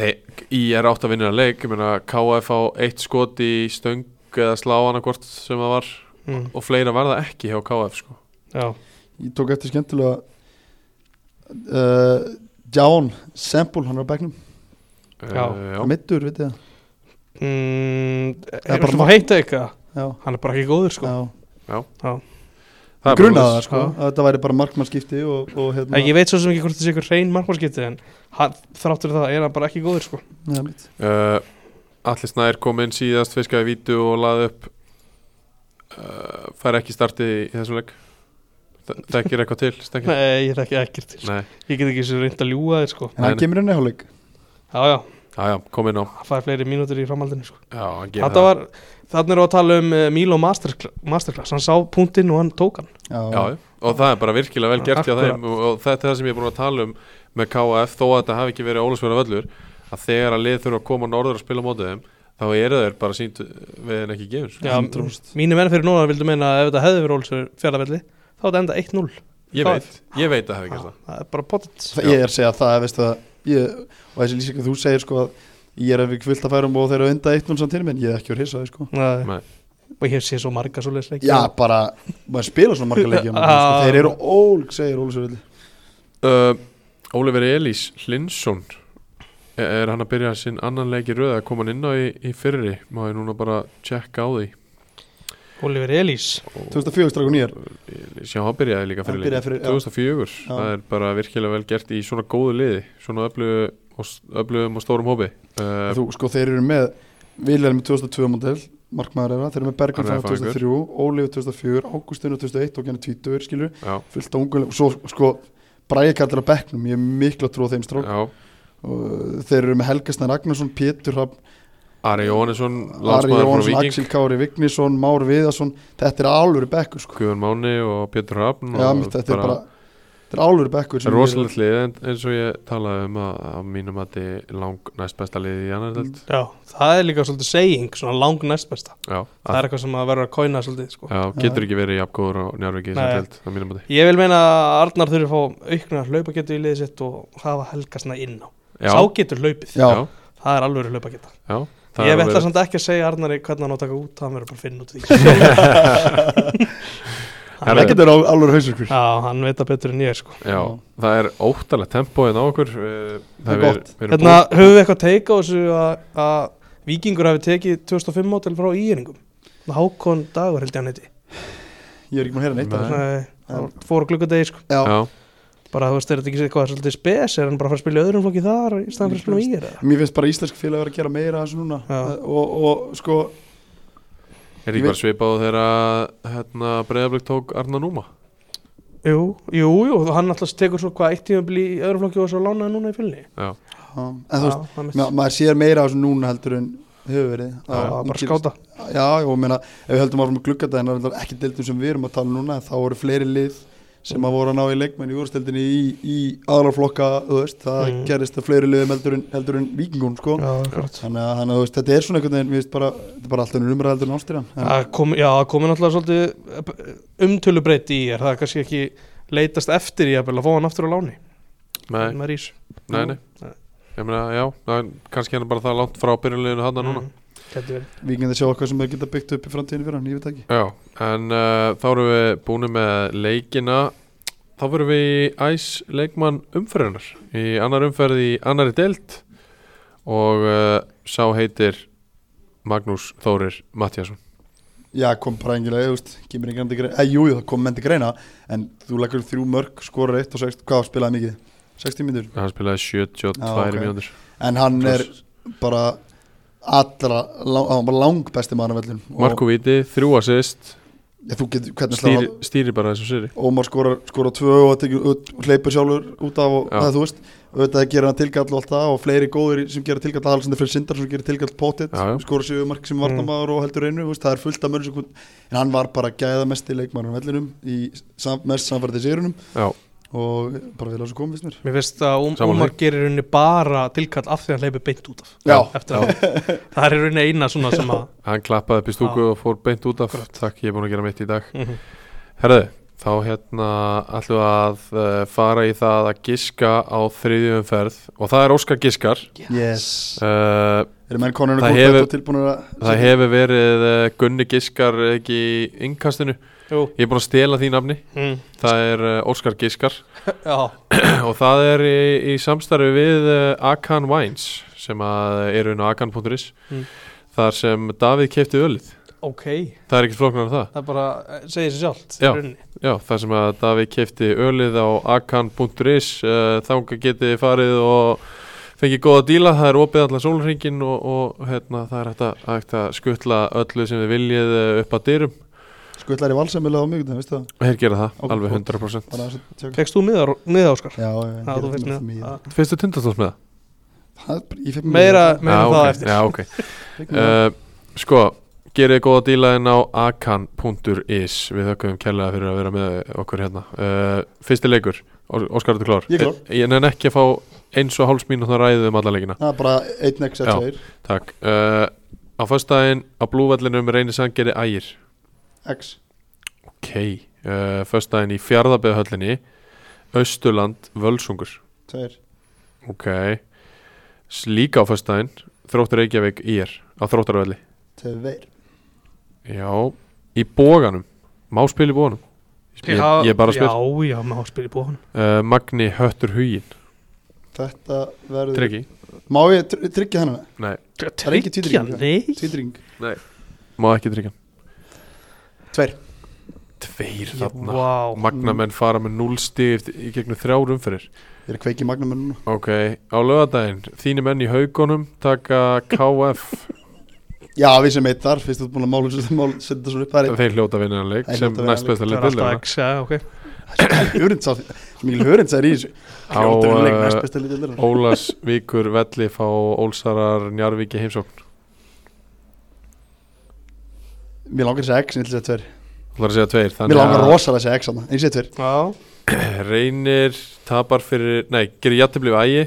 þeir, í er átt að vinna þennan leik, ég meina KF á eitt skot í stöng eða slá hana hvort sem það var
mm.
og fleira var það ekki hjá KF sko.
já
Ég tók eftir skemmtilega uh, Ján Sempul, hann er á begnum
Já.
Eh, já.
Mittur, veit ég
mm,
Það er
Er
bara
það heitt eitthvað?
það
Hann er bara ekki góður sko
Já,
Það er bara
grunaði það
svoleiðis.
sko að Þetta væri bara markmannskipti og, og hérna
Ég, ég veit svo sem ekki hvort það sé eitthvað reyn markmannskipti en hann, þráttur það er hann bara ekki góður sko
Já, mitt.
Eh, Atli Snær kom inn síðast fiskaði vítu og laði upp uh, fær ekki startið í þessum leik Þa- Þekkir eitthvað til Stengi?
Nei, ég er ekki ekkert til
Nei.
Ég get ekki sem reynd að ljúga þér sko
En hann
Nei.
kemur inn í hálfleik
Já, já,
Já, já, kom inn á
hann fæði fleiri mínútur í framhaldinu sko
Já, hann gerir
Þetta
það
var, þannig er á að tala um uh, Milo Masterclass, Masterclass, hann sá punktinn og hann tók hann
Já, já. og það er bara virkilega vel gert hjá
Akkurat.
þeim og, og þetta er það sem ég er búin að tala um með KF þó að þetta hafi ekki verið ólisverða völlur að þegar að lið þurfa að koma norður að spila á mótið þeim þá eru þeir bara sínt við þeim ekki gefur sko.
Já,
100%.
mínu menn fyrir núna vildu meina að ef þetta hefði verið Ólsur fjallavelli þá þetta enda 1-0
ég,
það-
veit, ég veit að það hefði gert
Já,
það
Það er bara pottet
Það- Ég er að segja það, veistu það ég, Og þessi lýsing að þú segir sko að Ég er ef ekki fullt að færum og þeir eru enda eitt núl samtíð En ég er ekki verið hissaði sko
Nei.
Og ég sé svo marga svo leisleik
Já, bara, maður spila svona marga leikja sko.
[laughs] Já.
Þeir eru ólg, segir Ólusöfjöld
Uh, Oliver Elís Hlinsson er, er hann að byrja sinn annan leik í röða að koma hann inn á í, í fyrri má ég núna bara tjekka á því
Oliver Elís
2004 strákun ég er
Elís, já hann byrjaði líka
Hann
fyrir
byrjaði fyrir- já.
2004,
Já.
það er bara virkilega vel gert í svona góðu liði, svona öflugu og s- öflugum og stórum hópi uh,
Þú, sko, þeir eru með Vilhelm 2002 model, markmaður þeirra þeir eru með Bergan
Hann er
frá 2003, Ólíf 2004 Ágústinu 2001 og genið 20 skilur,
já,
fullt á ungulegum og svo sko, Bræði kallar á bekknum ég er miklu að trúa þeim strák uh,
já,
og þeir eru með Helgastan Ragnarsson, Pétur Hrafn
Ari Jóhannesson,
Ari
landsmaður frá
Jónsson,
Viking
Axel Kári Vignisson, Már Viðarsson þetta er álur bekkur sko.
Guðan Máni og Pétur Hafn
Já, mitt, þetta er bara þetta er álur bekkur sem
bara
við-
rosalegt lið en, eins og ég talaði um að, að mínum að þetta er lang næst besta lið í annar
Mm.
delt
Já, það er líka svolítið saying, svona lang næst besta
já,
Það er eitthvað sem að verður að kóina svolítið sko.
já, getur ekki verið jafngóður á njárviki sem
Nei.
delt að mínum að
Ég vil meina að Arnar þurfi að fá aukna hlaupagetu í liðið sitt og hafa helga svona inn á
þetta
Sá getur hlaupið,
Já.
já,
það er alveg hlaupageta
já, það
Ég
er
ætla
alveg-
samt ekki að segja Arnari hvernig hann á að taka út hann verður bara að finna út úr því
[laughs]
[laughs]
Herra,
það getur álur hausverkur
Já, hann veit það betur en ég sko
já, það er óttalegt tempo en á okkur eh,
Það
við-
er gott.
við erum
Hérna, höfum við eitthvað teika á þessu að, að Víkingur hafi tekið 2005 mótel frá íeringum Hákon dagur held ég hann heiti
ég er ekki múin að heyra neitt af
Nei.
þessu.
Nei, það var fór á glukkudegi sko
Já.
búin- já,
Bara þú veist, er þetta ekki eitthvað svolítið spes er hann bara að fara að spila í öðrum flokki þar í staðan fyrir að spila í íer
mér finnst bara íslensk félag vera að gera meira af þessu núna
Já.
Eh, og, og sko
er ekki
Ég
bara svipað á þeirra hérna, breyðablík tók Arna Núma
Jú, jú, jú, hann alltaf tekur svo hvað eitt tíma í öðrum flokki og svo lánaði núna í fylni
já,
já, en þú veist
það
Ma, maður sér meira á þessu núna heldur en hefur verið
Já,
Að-
bara
gerist-
skáta
já, og meina, ef við höldum áfram að glugga það en það er ekki deildum sem við erum að tala um núna þá eru fleiri lið sem að voru að ná í leikmenn í úrstildinni í, í aðlarflokka þú veist, það
Mm.
gerist að fleiri liðum heldur en, heldur en vikingun sko.
Já, akkurat
þannig að, þannig að þú veist, þetta er svona einhvern veginn mér finnst bara, þetta er bara alltaf umræð heldur en ástyrjan en,
Það kom, já, það komi náttúrulega svolítið umtölubreyti í er, það er kannski ekki leitast eftir í jafnvel, að fá hann aftur á láni
nei,
með rís
nei, nei.
Nei.
Ég meina, já, það er kannski hann bara það langt frá byrjuleginu hann núna
Mm.
Mm, Gæti verið
vikingar sjá okkar sem þau geta byggt upp í framtíðinu fyrir hann, ég veit ekki
Já, en uh, þá erum við búin með leikina Þá verum við í æs leikmann umferðinar Í annar umferð í annari deild Og uh, sá heitir Magnús Þórir Mattiasson
Já, kom bara engilega, þú veist, kemur engan til greina eh, Jú, jú, það kom menn til greina, en þú leggur þrjú mörg, skorur eitt og sext, hvað spilaði mikið? 60 mínútur
Hann spilaði 72
Já, ok.
mínútur
En hann er
Plus.
bara allra, lang, hann var lang besti maður af öllum Og-
Marko Víti, þrjú assist
Já, þú getur, hvernig
stýri,
sláða
stýri bara þessu sýri
Ómar skorar, skorar tvö og tekur, út- hleypur sjálfur út af og
Já.
það, þú veist auðvitað gerir hann tilgall og allt það og fleiri góðir sem gerir tilgall Alexander Freyr Sindar sem gerir tilgall pottit
Já, já.
skorar sig mark sem vartamæður og heldur einu þú veist, það er fullt af mörg sem kun- en hann var bara gæðamesti leikmæður á vellinum í sam, mest samfærdi sigurunum
Já,
og bara vel að þessu komið finnst mér
Mér finnst að um,
Sammála
Umar gerir henni bara tilkall af því að hann hleypi beint út af
Já.
Eftir að það er henni eina svona sem
[laughs]
að
hann klappaði upp í stúku og fór beint út af
Akkurat.
Takk, ég er búin að gera mitt í dag
Mhm.
Herðu, þá hérna ætlum við að uh, fara í það að giska á þriðjum ferð og það er Óskar Giskar
yes.
uh,
eru menn konur
Það hefur-
tilbúin að
Það hefur verið uh, Gunni Giskar ekki í innkastinu
Jú,
Ég er búin að stela því nafni
mm,
Það er uh, Óskar Giskar [clears throat]
já,
og það er í, í samstarfi við uh, Akan Wines sem að eru inn á akan.is
Mm.
þar sem Davíð kefti ölið
ok
Það er ekkert flóknar en það
Það bara eh, segir sér sjálft
Já.
í rauninni.
Já, þar sem að Davíð kefti ölið á akan.is uh, þanga getið þið farið og fengið góða díla, það er opið allan sólringin og, og hérna, það er hægt að, hægt að skutla öllu sem þið viljið eh, upp að dyrum
skvillari valsamilega á mjög veistu það
og hér gera það,
Ok,
alveg
flott.
100%
bara þess að tjóka
Fékkst þú miðar, miða Óskar?
já, ég,
Já, þú Ah. finnst miða
mér
Fyrstu tundastóns með það?
ég fekk
Meira, meira um
Já,
það
ok,
eftir
já, ok.
Fékk mér það.
Uh, sko, gerið góða díla en á akan.is Við þökkum kærlega fyrir að vera með okkur hérna uh, Fyrsti leikur, Ó- Óskar, ertu klár? Eh,
Ég er klár.
Ég, ég nenn ekki að fá eins og hálfs mínútna ræðið um alla leikina
það er bara 1x
Já.
2
Takk uh, Á föstudaginn á blúvallinum reynir sangeri ægir
x
Ok uh, Föstudaginn í fjardabæðahöllinni Östurland Völsungur
2
Ok S- Líka á föstudaginn Þróttur Reykjavík ír Á þróttarvelli
Tveir
Já Í bóganum Má spila í bóganum Ég, ég er bara að spila
Já, já, maður spil í bóðan
uh, Magni Höttur Hugin
Þetta verður
Tryggi
Má ég tr- tryggja hennan?
Nei
er ekki tvítryggingar.
Nei
Títring
Má ekki tryggja hann.
Tveir
Tveir þarna
Vá
Magnamenn fara með 0 stig eftir- í gegnum þrjárum fyrir
Ég er að kveiki magnum núna
Ok, á lögadaginn, þínu menn í haugunum taka KF
Já, við sem eitt þar Fyrst þú ert búin að mála [laughs] þessu Mál setja þetta svona upp Það
þeir hljóta vinnaðanleik
Þeir
sem
hljóta að vinna
næst besta
Það
leik
er alltaf
deildarinnar.
X, já, ok
er hörund sá Svo mikil hörund sá er í þessu
Á,
Hljóta við leik
eh,
Næst besta lítið lirra
Ólas Víkur Velli fá Ólsarar Njarvíki heimsókn
Mér langar þessi X, en ég ætla að segja tver
Þú ætlar að segja tveir
Mér
Þannig
langar
að
rosalega að segja X hann En ég segja tver
Já,
reynir tapar fyrir, nei, gerir jættiflið ægi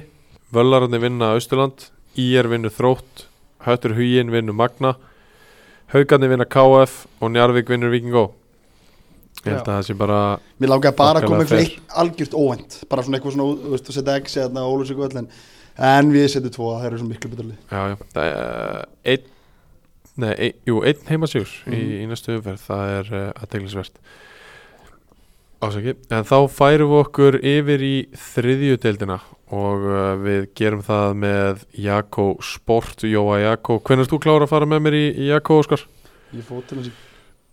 Völlararni vinna Austurland IR vinnur Þrótt Höttur Huyin vinnur Magna Haukarni vinna KF og Njarvík vinnur Víkingó Ég held að það sé bara
Mér langar bara að koma
Þokkalega
eitthvað eitt algjört óvend Bara svona eitthvað svona, þú veist, þú setja X hérna eða Ólus eitthvað öll en En við setjum tvo, það eru svo miklu betur lið
Já, já, það er eh, einn, nei, ein, jú, einn heimasjúr í,
Mhm.
í næstu umferð, það er uh, aðteglisvert Ásaki, en þá færum við okkur yfir í þriðju deildina og uh, við gerum það með Jakko Sport, Jóa Jakko Hvernig erst þú klára að fara með mér í, í Jakko, Óskar?
Ég fór til hans í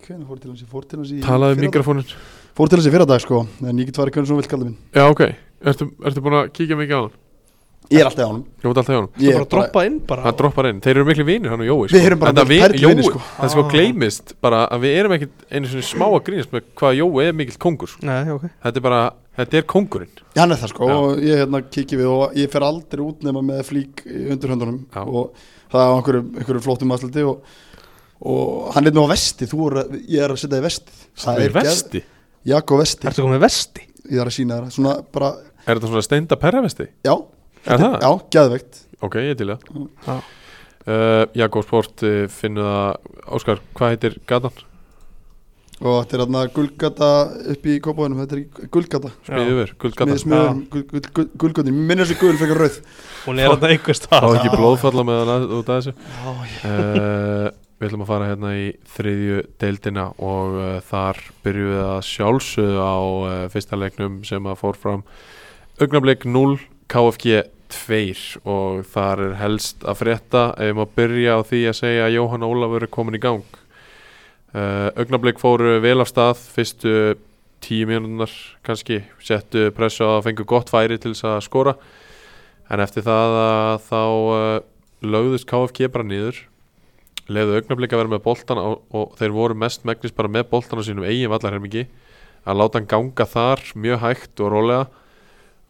Hvernig fór til hans í, fór til hans í
Talaðu um
fyrradag.
mikrofónin
Fór til hans í fyrradag sko En ég get farið hvernig svona vilt kalla mín
Já, ok, ertu, ertu búin að kíkja mikið á hann?
Ég er alltaf á hann
Ég múti alltaf hjá hann
það bara að droppa inn bara
Hann droppar inn, þeir eru miklu vinir hann og Jói sko.
Við erum bara
Enda
miklir perluvinir,
Jói-
sko.
Það er sko
Ah.
gleymist bara að við erum ekkit einu svona smá að grínast með hvað Jói er mikill kongur sko.
Nei, ok
Þetta er bara, þetta er kongurinn
Já, hann er það sko
Já.
og ég hérna kikið við og ég fer aldrei út nema með flík í höndunum
Já.
og það er á einhverju, einhverju flóttum aðsluti og, og hann er nú á vesti, þú er, að- ég er að setja í vestið
Það er vesti
Jakko vesti,
Ertu komið með vesti?
ég er að sína þér svona bara,
Er þetta svona steinda perravesti?
já,
Er það?
já, geðveikt
Ok, ég er til það
Já.
uh, Jakob Sport uh, finnur það Óskar, hvað heitir gatan?
og þetta er hérna gullgata upp í kópáðunum, þetta er ekki gullgata
Smiðið yfir, guldgatan
með smjöðum, gullgötin, minnur þessi gull frekar rauð
Hún er þetta einhver
Það
stað
er ekki blóðfalla með það út af þessu
Já, ég
uh, Við ætlum að fara hérna í þriðju deildina og uh, þar byrjuðum við að sjálfsögðu á uh, fyrsta leiknum sem að fór fram Augnablik 0, KFG 2 og þar er helst að frétta ef maður byrja á því að segja að Jóhann Ólafur er komin í gang uh, Augnablik fóru vel af stað fyrstu tíu mínúnar kannski, settu pressu að fengu gott færi til þess að skora en eftir það að þá uh, lögðust KFG bara niður leiðu augnablik að vera með boltan og, og þeir voru mest megnis bara með boltan á sínum eigin vallarhermingi að láta hann ganga þar mjög hægt og rólega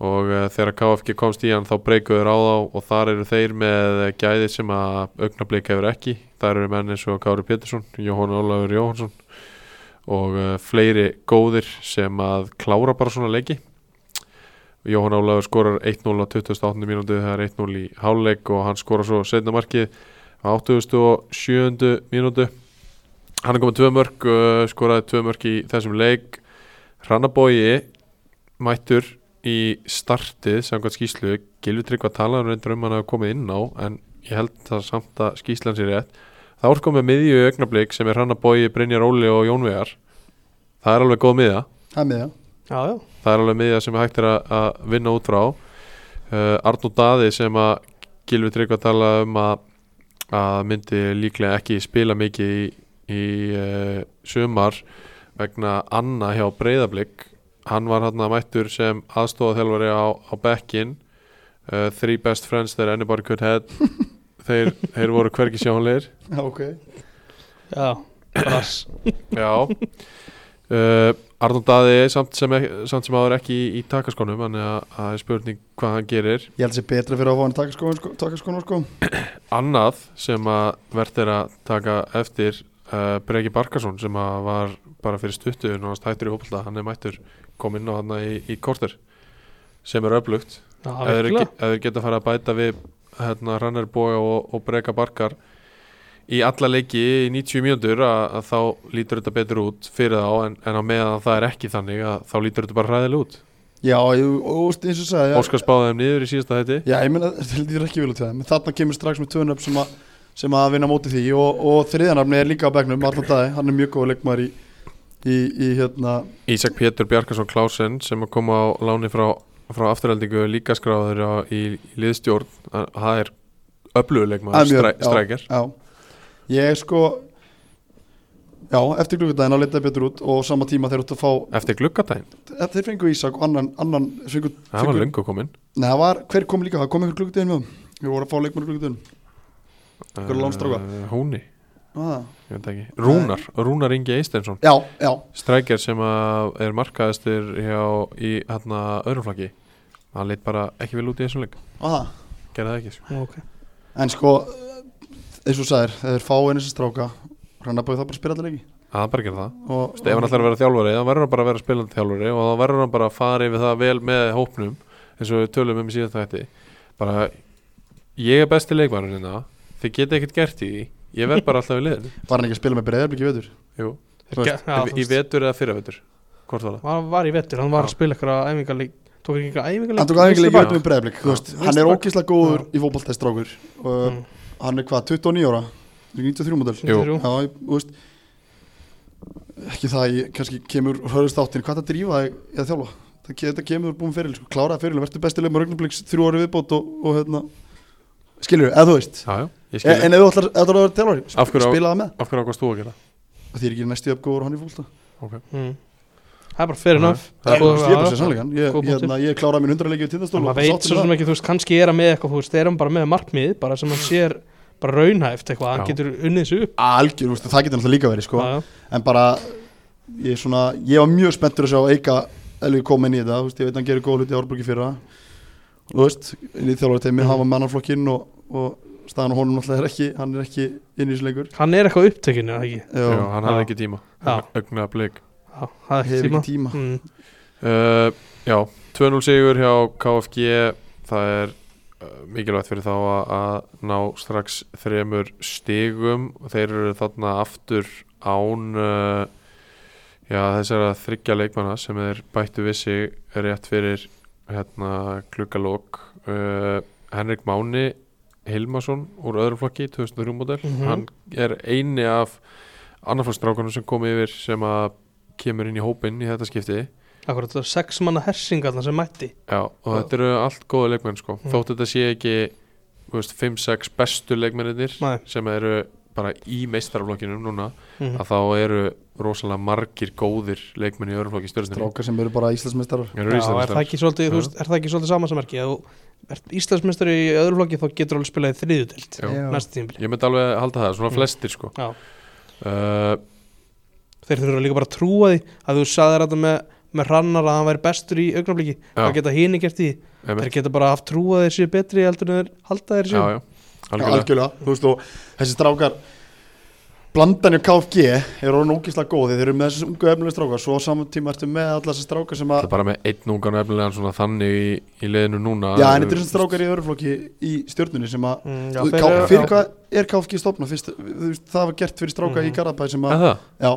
og uh, þegar KFG komst í hann þá breykuður á þá og þar eru þeir með gæði sem að augnablik hefur ekki þar eru menn eins og Kári Pétursson Jóhann Ólafur Jóhannsson og uh, fleiri góðir sem að klára bara svona leiki Jóhann Ólafur skorar 1-0 á 28. mínútu það er 1-0 í háluleik og hann skorar svo setna markið á 87. mínútu hann er komið tvö mörg uh, skoraði tvö mörg í þessum leik Rannabói mættur í startið samkvæmt skýslu, Gilvi Tryggva talaði reyndar um hann að komið inn á en ég held það samt að skýslan sér rétt þá er komið miðju augnablík sem er Rannabói Brynjar Óli og Jónvegar það er alveg góð miða
Það er með það,
Já, já
það er alveg miðja sem hægt er að, að vinna út frá uh, Arnó Daði sem að Gilvi Tryggva tala um að, að myndi líklega ekki spila mikið í, í uh, sumar vegna Anna hjá Breiðablík hann var hann að mættur sem aðstofaþjálfari á, á bekkin uh, Three best friends, þeir anybody could head þeir, þeir voru hvergi sjónleir
já, ok
Já, bara s-
Já uh, Arnón Daði samt sem, samt sem áður ekki í, í takaskonum þannig að að það er spurning hvað hann gerir
Ég held þessi betra fyrir að fá hann takaskóna sko, takaskóna, sko.
Annað sem að verður að taka eftir uh, Breki Barkarsson sem að var bara fyrir stuttu og hann hættur í hópulta, hann er mættur kom inn á hann í, í korter sem er öflugt
Já,
ef þeir
virkilega.
ge- ef þeir geta að fara að bæta við hérna, Rannar Boga og, og Breka Barkar í alla leiki í 90 mínútur að, að þá lítur þetta betur út fyrir þá en, en á meðan það er ekki þannig að þá lítur þetta bara ræðilega út
Já, ég, og, og, eins og sagði já,
Óskar spáði þeim niður í síðasta hætti
Já, ég meina, þetta lítur ekki vel út hjá þeim en þarna kemur strax með tvönöfn sem, að- sem að vinna á móti því og, og þriðanöfni er líka á begnum allan dagi, hann er mjög góð leikmar í, í, í hérna
Ísak Pétur Bjarkarsson Klásen sem að koma á láni frá, frá afturhaldingu líka skráður á, í, í liðstjórn að- það er
að
öfluguleikmaður
mjög-
stræ, strækjar
Já, já, ég sko Já, eftir klukkudaginn að leita betur út og á sama tíma þeir áttu að fá
eftir gluggatæn,
ef þeir fengu Ísak og annan, annan fengu,
það var löngu komin
Nei, það var, hver kom líka, það kom einhver klukkudaginn með þeim Við vorum að fá leikmar klukkudaginn Hver er lánstráka?
Eh, Húni,
ah.
ég veit ekki Rúnar, Rúnar Ingi Eistensson
Já, já,
strækjar sem að er markaðistur hjá í hérna öðruflaki hann leitt bara ekki vel út í þessum leik
aða
gerði það ekki sko.
Ok.
En sko, eins og þú sagðir, þeir fá einu sem stráka hann er bara það bara að spila allir leiki
Það er bara að gera það
og
Þú veist, Ef hann ætlar að vera þjálfari, þá verður hann bara að vera spilandi þjálfari og þá verður hann bara að fara yfir það vel með hópnum eins og við tölum um síðan þætti bara, ég er besti leikmærin hérna, þið geta ekkert gert í því ég verð bara alltaf í liðinu
var hann ekki að spila með breyðarblik í vetur
Jú,
Þú veist,
Já,
í, í vetur eða fyrirvetur hvort var það?
hann var í vettur, hann var að
Já.
spila ykkur að æfingarleik tók ekki ykkur æfingarleik
hann tók aðeins leiki
Vinstri
vetur með breyðarblik
Já.
hann
Vinstri
er
bak.
ógislega góður í fótballtæstrákur og
Mm,
hann er hvað, 29 ára 93 módel
Jú.
93.
Já, ég, þú veist ekki það að ég kannski kemur hörðust áttin, hvað það drífa þig í að þjálfa það, ke- þetta kemur búin fyrir, sko, kláraði fyrir verður besti leik með rögnabliks þrjú ári viðbót og, og hérna, skilur eða þú veist
Já, já, ég
en,
skil
en ef þú ætlar ef þú ætlar að vera þjálfari,
Af hverju á-
sp- spila það með
Af hverju ákvæmst þú að gera?
því er ekki næstu uppgóður og hann í fólta
mm. það er bara fair enough
Það er
ég
Góð-
er bara
já,
að segja sannleikann Sko, ég,
Góð
ég, hérna, ég kláraði minn 100 leikið við
En
tindastól
maður veit svo sem ekki, þú veist, kannski er hann með eitthvað, þú veist, er hann bara með markmið, bara sem hann sér bara raunhæft eitthvað, hann
Já.
getur unnið þessu upp
algjör, þú veist, það getur náttúrulega líka verið sko.
Já, já.
en bara ég, er svona, ég var mjög spenntur að sjá Eika Elvi koma inn í þetta, þú veist, ég veit að hann gerir góð hluti í Árborgi fyrra og þú veist, inn í þjálfari teimi, hann var með annan flokkinn og, og staðan á honum náttúrulega er ekki hann er ekki inn í þessu lengur
Hann er eitthvað á upptökinu, eða ekki?
Jú,
Já,
hann hafði
Já.
ekki tíma
Já.
Ögnaða bleik
Já, það er
hefur
ekki tíma.
ekki tíma
Mm.
uh, Já, 2-0 sigur hjá KFG Það er uh, mikilvægt fyrir þá að, að ná strax þremur stigum og þeir eru þarna aftur án uh, já, þessara þryggja leikmanna sem er bættu vissi rétt fyrir hérna, klukkalók uh, Henrik Máni Hilmarsson úr öðrum flokki 2003 model,
Mhm.
hann er eini af annarflokksstrákunum sem kom yfir sem að kemur inn í hópinn í þetta skipti
Akkurat, það er sex manna hersing allan sem mætti.
Já, og þetta eru allt góða leikmenn sko.
Mm.
þótt þetta sé ekki þú veist, 5-6 bestu leikmennir
Nei.
sem eru bara í meistaraflokkinum núna
Mm.
að þá eru rosalega margir góðir leikmenn í öruflokki stjórnstæðinni
strákar sem eru bara Íslandsmeistarar
Já,
Já, er það
það
ekki svolítið,
Já.
þú veist, er það ekki svolítið samansamerki? Ef þú ert Íslandsmeistari í öðru flokki þá getur alveg spilað í þriðudelt
Já.
næsta tímbili.
Ég myndi alveg halda það, svona
Mm.
flestir sko
Já.
uh,
Þeir þurfa líka bara að trúa því að þú sagðir þetta með, með hrannar að hann væri bestur í augnabliki.
Já.
Hvað geta hini gert í því?
emi,
Þeir geta bara haft trúa þeir séu betri heldur en þeir halda þeir
Já,
séu.
já,
Já,
algjörlega
algjörlega, þú veist, og þessi strákar blandan hjá KFG er orðin ógislega góð, þeir eru með þessi ungu efnilega strákar svo á saman tíma ertu með alla þessi strákar sem
Það
að
er bara með einn ungan efnilegan svona þannig í, í liðinu núna
Já, en þetta er svona strákar í öruflokki í stjörnunni sem að
Mm, já,
Þú-
þeir
K-
eru-
fyrir
já.
hvað er KFG stopna fyrst, þú veist, það var gert fyrir stráka í
Mhm.
Garabæ sem
Er
að
það?
já,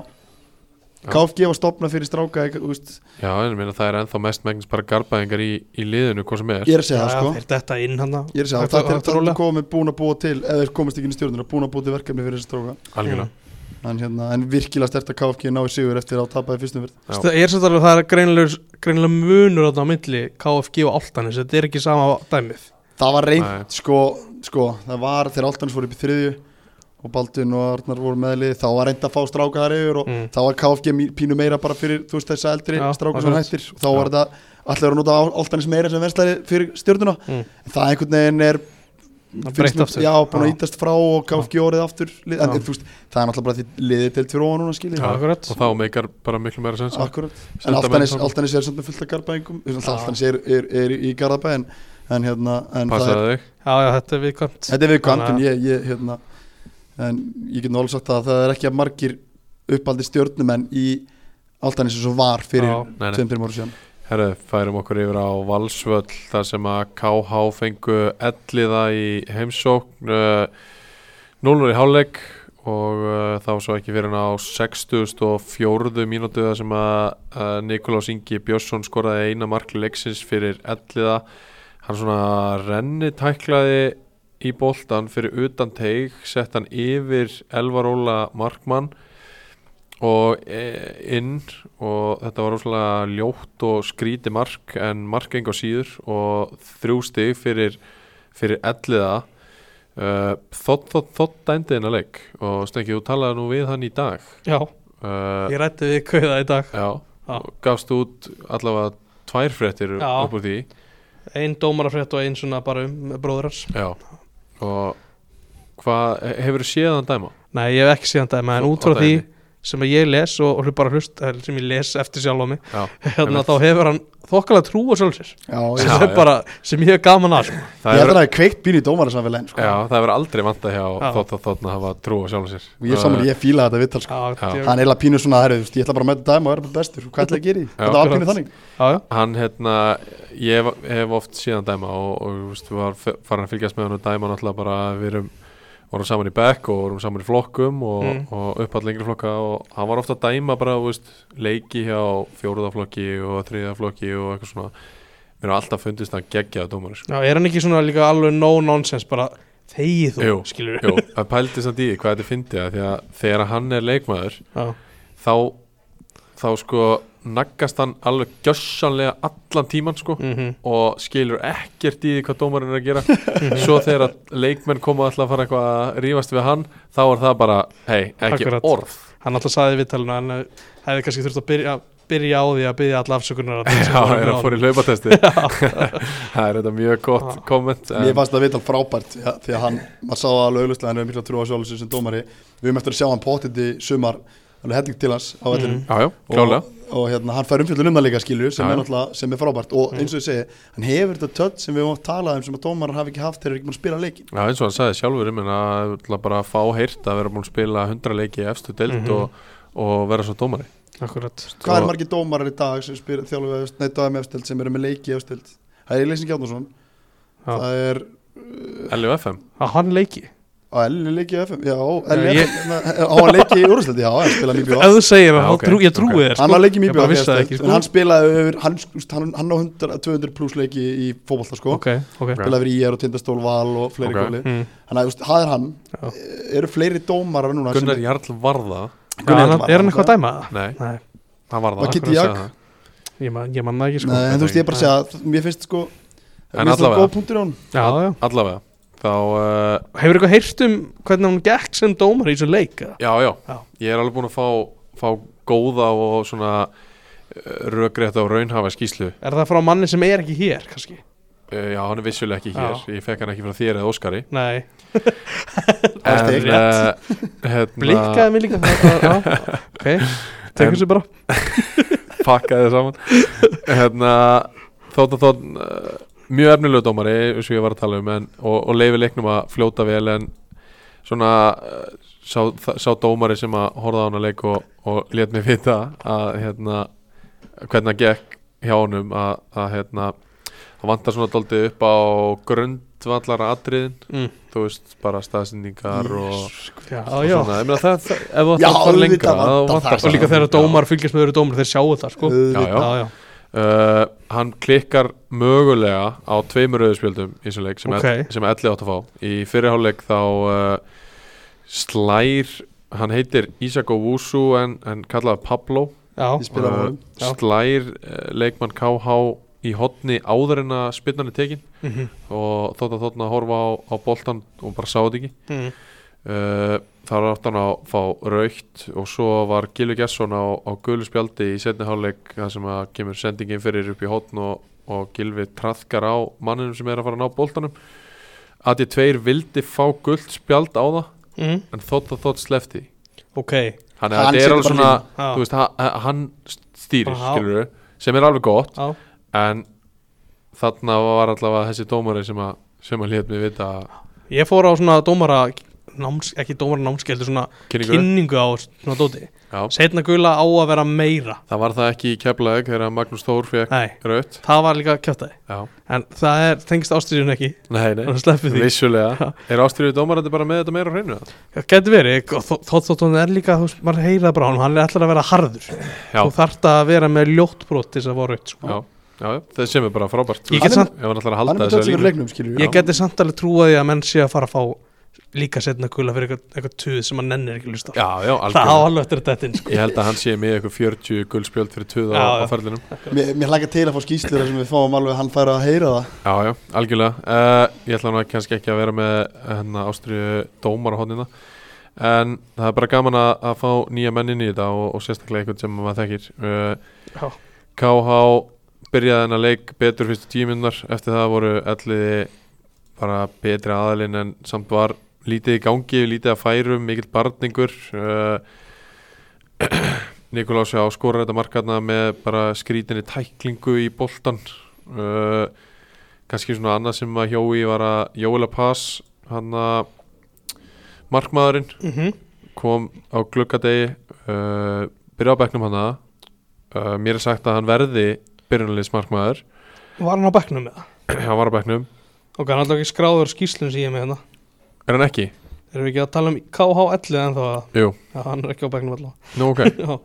Já.
KFG var stopna fyrir stráka í, þú veist,
Já, en ég meina það er ennþá mest megnis bara garbaðingar í, í liðinu, hvað sem er
ég er að segja
Já,
það
já,
sko
þeir detta inn hann
ég er að segja það, það er það er komið búin að búa til eða þeir komist ekki inn í stjörnuna, búin að búa til verkefni fyrir þessi stráka
Algjörlega
Mm.
en, hérna, en virkilega stert að KFG nái sigur eftir að tapaði fyrstum verð
Já.
Það er svolítið alveg, það er greinilega, greinilega munur þarna á milli KFG og Altanis, þetta er ekki sama dæmið.
það var
Nei.
reynd, sko, sko það var þegar Altanis voru upp í þriðju og Baldun og Arnar voru meðlið þá var reynd að fá stráka þar yfir og
Mm.
þá var KFG mí- pínu meira bara fyrir þú veist þessa eldri
Já,
stráka sem
akkurat.
hættir og þá var þetta allir að nota áltanis meira sem verslari fyrir stjórnuna
Mm.
en það einhvern veginn er
Það
finnst
breytt
mér-
aftur.
já, búin að
Já.
ítast frá og KFG orðið aftur lið- en
Já.
þú veist, það er náttúrulega bara því liðið til fyrir ofan núna skiljið
Já,
Akkurat.
Og þá meikar bara miklu meira sens að
Akkurat, en
senda
Altanis,
menn þangað.
Altanis er samt með fullt af garbaðingum
Já.
Altanis er, er, er í garðabæ en, en hérna en það er,
Passaði þig
Já, já, þetta er viðkvæmt.
Þetta er viðkvæmt en
Þannig
ég, ég, hérna, en ég get nú alveg sagt það að það er ekki að margir uppaldi stjórnumenn í Altanis eins og var fyrir
Já.
Nei, nei.
tveim fyrir ára síðan
Herru, færum okkur yfir á Valsvöll þar sem að KH fengu elliða í heimsókn uh, 0 í hálfleik og uh, það var svo ekki fyrir hann á 64. mínútu þar sem að uh, Nikolás Ingi Björnsson skoraði eina markli leiksins fyrir elliða hann svona renni tæklaði í boltan fyrir utan teig sett hann yfir Elvar Óla Markmann og eh, inn og þetta var rosalega ljótt og skríti mark en mark enga síður og þrjú stig fyrir, fyrir elliða uh, þótt, þótt, þótt dændi hennar leik og Stengi, þú talaði nú við hann í dag
Já,
uh,
ég rætti við kauða í dag.
já,
Já.
og gafst út allavega tvær fréttir
Já.
upp úr því
Einn dómarafrétt og einn svona bara um bróðurars.
já. og hvað, hefur séð hann dæma?
Nei, ég hef ekki síðan dæma, en út frá
Á
því
dæmi.
sem að ég les og, og bara hlust eh, sem ég les eftir sjálf á mig
Já,
[laughs] hérna,
einmitt.
þá hefur hann þokkalega trú á sjálfsins
Já,
sem,
ég,
Já,
er
já.
bara, sem ég hef gaman að sko.
það er
ég ætla að það er kveikt býr í dómarasamfélagin sko.
Já, það verður aldrei vanta hjá
Já.
þótt að þótt að hafa trú á sjálfum sér Uh,
og ég saman, ég fíla þetta vittal sko.
já,
Já.
ég-
hann er eiginlega pínu svona herri, þú veist, ég ætla bara að mæta dæma og vera bara bestur hvað ætla ég að gera í, þetta var pínu
akkurat.
þannig
já, já.
Hann, hérna, ég hef- hef oft síðan dæma og, og þú veist, við var f- farin að fylgjast með hann og dæma náttúrulega bara að við erum vorum saman í bekk og vorum saman í flokkum og,
Mm.
og uppall lengri flokka og hann var ofta að dæma bara, þú veist, leiki hjá fjóruðaflokki og þriðaflokki og eitthvað svona mér hefur alltaf fundist að gegja að
[laughs]
dómari sko.
Já, er hann ekki svona líka alveg no nonsense bara þegið þú,
Jú,
skilur
Jú, það pældi samt í því hvað þetta fyndi að því að þegar hann er leikmaður
Já,
þá þá sko naggast hann alveg gjössanlega allan tíman sko
mhm,
og skilur ekkert í því hvað dómarinn er að
[laughs]
gera svo þegar að leikmenn koma alltaf að fara eitthvað að rífast við hann þá er það bara, hei, ekki
Akkurat.
orð
hann alltaf saði við talinu hann hefði kannski þurft að byrja, byrja á því að byrja alla afsökunar [laughs] að
Já, það er að fór í [laughs]
[laughs]
laubatesti Það er þetta mjög gott
Já.
komment en-
Mér fannst það viðtal frábært ja, því að hann, maður sá það alveg auðvitað hann hefur mikla trú á sjálfsins sem dómari við höfum eftir að sjá hann pottit í sumar alveg helling til hans á vellinum
Já, já, klálega
og, og hérna, hann fær umfjöldun um það líka skilur sem
Já,
er
já.
náttúrulega, sem er frábært
Mm.
og eins og ég segi, hann hefur þetta tött sem við höfum oft talað um sem að dómarar hafi ekki haft þegar þeir eru ekki búin að spila leikin
Já, eins og hann sagði sjálfur um en að ætla bara að fá heyrt að vera búin að spila 100 leiki í efstu deild
Mhm.
og, og vera svo dómari
Akkurat,
Hvað
Og-
er margir dómarar í dag sem spila þjálfur neittáðum um efstild sem eru með leiki efstild Það er Leysing Gjarnason
Já.
Það er
LFM
að hann leiki
á Elli leiki í FM Já, á
Já,
Elli
ég-
FM hérna, Á að leiki í úrstöldi, já, hann
[laughs]
spilaði mjög
Ef þú segir
Já,
mér,
ok,
okay, trú, ég trúi
ok.
þér
hann var leikið
sko. Ég
mjög
bara
bjóð
vissi það ekki, sko.
en hann spilaði yfir, hann, sk- úst, hann, hann á 100, 200 pluss leiki í fótbolta sko,
Ok, ok
Ok.
spilaði fyrir IR og Tindastól Val og
Ok.
fleiri okay. góli,
Mm.
þannig að úst, það er hann Eh,
Já.
eru fleiri dómarar núna
Gunnar Jarl varða
Já, hann, er hann eitthvað að dæma það?
Nei,
Nei,
hann var það
Var Kitty
hann sagði
Jagr?
það.
ég man, ég man það ekki sko
Nei, en þú veist ég er bara að segja, að mér finnst sko
En
mér finnst það
allavega.
góð punktur á hann
Já, já
Allavega Þá, uh,
Hefur eitthvað heyrt um hvernig hann gekk sem dómar í þessu leik? eða?
já, já,
Já.
Ég er alveg búin að fá, fá góða og svona eh, rökrétt á raunhafa skýslu uh,
Er það frá manni sem er ekki hér, kannski?
Eh, Já, hann er vissulega ekki hér
Já.
Ég fekk hann ekki frá þér eða Óskari
Nei,
Það er
En, uh, hérna,
blikkaði mig líka það, það, já, Ok, tekur
En-
þessu bara
pakkaði það saman Hérna, þótt að þótt uh, Mjög efnilegu dómari, eins og ég var að tala um en, og, og leifi leiknum að fljóta vel en svona uh, sá, þa- sá dómari sem að horfa á hana leik og, og let mér vita að hérna hvernig það gekk hjá honum að, að hérna það vantar svona daldið upp á grundvallara atriðin,
mm.
þú veist bara staðsendingar og,
Já,
og
já,
svona, ég meina það, það ef það
Já,
þarf að fara
auðvitað
lengra
vantar
þá
það.
og líka
það.
þegar dómar fylgjast með öðru dómar, þeir sjáu það, sko
Já, já.
já, já.
uh, hann klikkar mögulega á tveimur auðspjöldum í þessum leik sem,
Ok.
okay. sem elli átt að fá í fyrirháleik þá uh, slær hann heitir Isako Wusu en, en kallaði Pablo
ég
já.
spilaði á
Uh,
hann
Já.
slær uh, leikmann KH í hotni áður en að spinnan er tekin
Mhm.
og þótt að þótt að horfa á, á boltan og bara sá þetta ekki
Mm.
uh, þar átt hann að fá raukt og svo var Gilvi Gesson á, á gulu spjaldi í setni hálfleik þar sem að kemur sendingin fyrir upp í hotn og, og Gilvi trafkar á manninum sem er að fara að ná boltanum að ég tveir vildi fá gult spjald á það
Mm.
en þótt að þótt slefti
Ok,
hann er, er
Hann
alveg
setur bara hérna.
svona
já,
þú veist, hann, hann stýrir
Já.
skilur, sem er alveg gott
já
en þarna var allavega þessi dómari sem að, sem að lét mig vita
Ég fór á svona dómara náms, ekki dómara námskeldu, svona
kynningu
kynningu á svona dóti
Já.
Setna gula á að vera meira
það var það ekki í keflaðeg þegar Magnús Þór fekk
Nei,
raukt
það var líka kjáttæði
Já,
En það er, tengst ástriðun ekki
nei, nei
Þannig sleppið því
Vissulega, er ástriðu dómarandi bara með þetta meira á hreinu?
Það getur verið, og þó- þótt þótt hann er líka, þú veist, maður heyrða bara á honum, hann er alltaf að vera harður
Já.
Þú þarft að vera með ljótt brot til þess að voru upp, sko
Já, já, já, það sem er bara frábært
Ég
Hann
get
er-
samt-
Ef hann ætlar að
hann er
halda
með
þessu
tölsíkur
línu
leiknum skilur
Ég geti samt alveg trúaði að menn sé að fara að fá líka setna gula fyrir eitthvað, eitthvað tuð sem hann nennir ekki að hlusta á.
Já, já,
[laughs] Það á
algjörlega
alveg eftir þetta inn, sko.
Ég held að hann sé með eitthvað 40 guldspjöld fyrir tuða
Já,
á, á
já.
ferlinum
mér, mér hlækka til að fá skýslur þar sem við fáum alveg að hann fær að heyra það
Já, já, algjörlega uh, Ég ætla nú að kannski ekki að vera með hérna, ástriðu dómar á hodnina En það er bara gaman að, að fá nýja mennin í þetta og, og sérstaklega eitthvað sem maður þekkir uh,
Já,
KH byrjaði hennar leik betur fyrstu tíminnar eftir það voru elliði bara betri aðalinn en samt var lítið í gangi, lítið að færum mikill barningur uh, [clears throat] Nikolás já, skorar þetta markarna með bara skrítinni tæklingu í boltan uh, kannski svona annað sem að Jói var að Jóela Pass hann að markmaðurinn
mm
kom á gluggadegi uh, byrja á bekknum hann að uh, mér er sagt að hann verði byrjunalins markmaður
Var hann á bekknum með það?
[clears throat] hann var á bekknum,
Ok, hann er alltaf ekki skráður skýslun sem ég er með hérna
er hann ekki?
Erum við ekki að tala um KH11 en þá
Jú,
Já, hann er ekki á bekknum allavega
nú
[laughs]
ok
Já,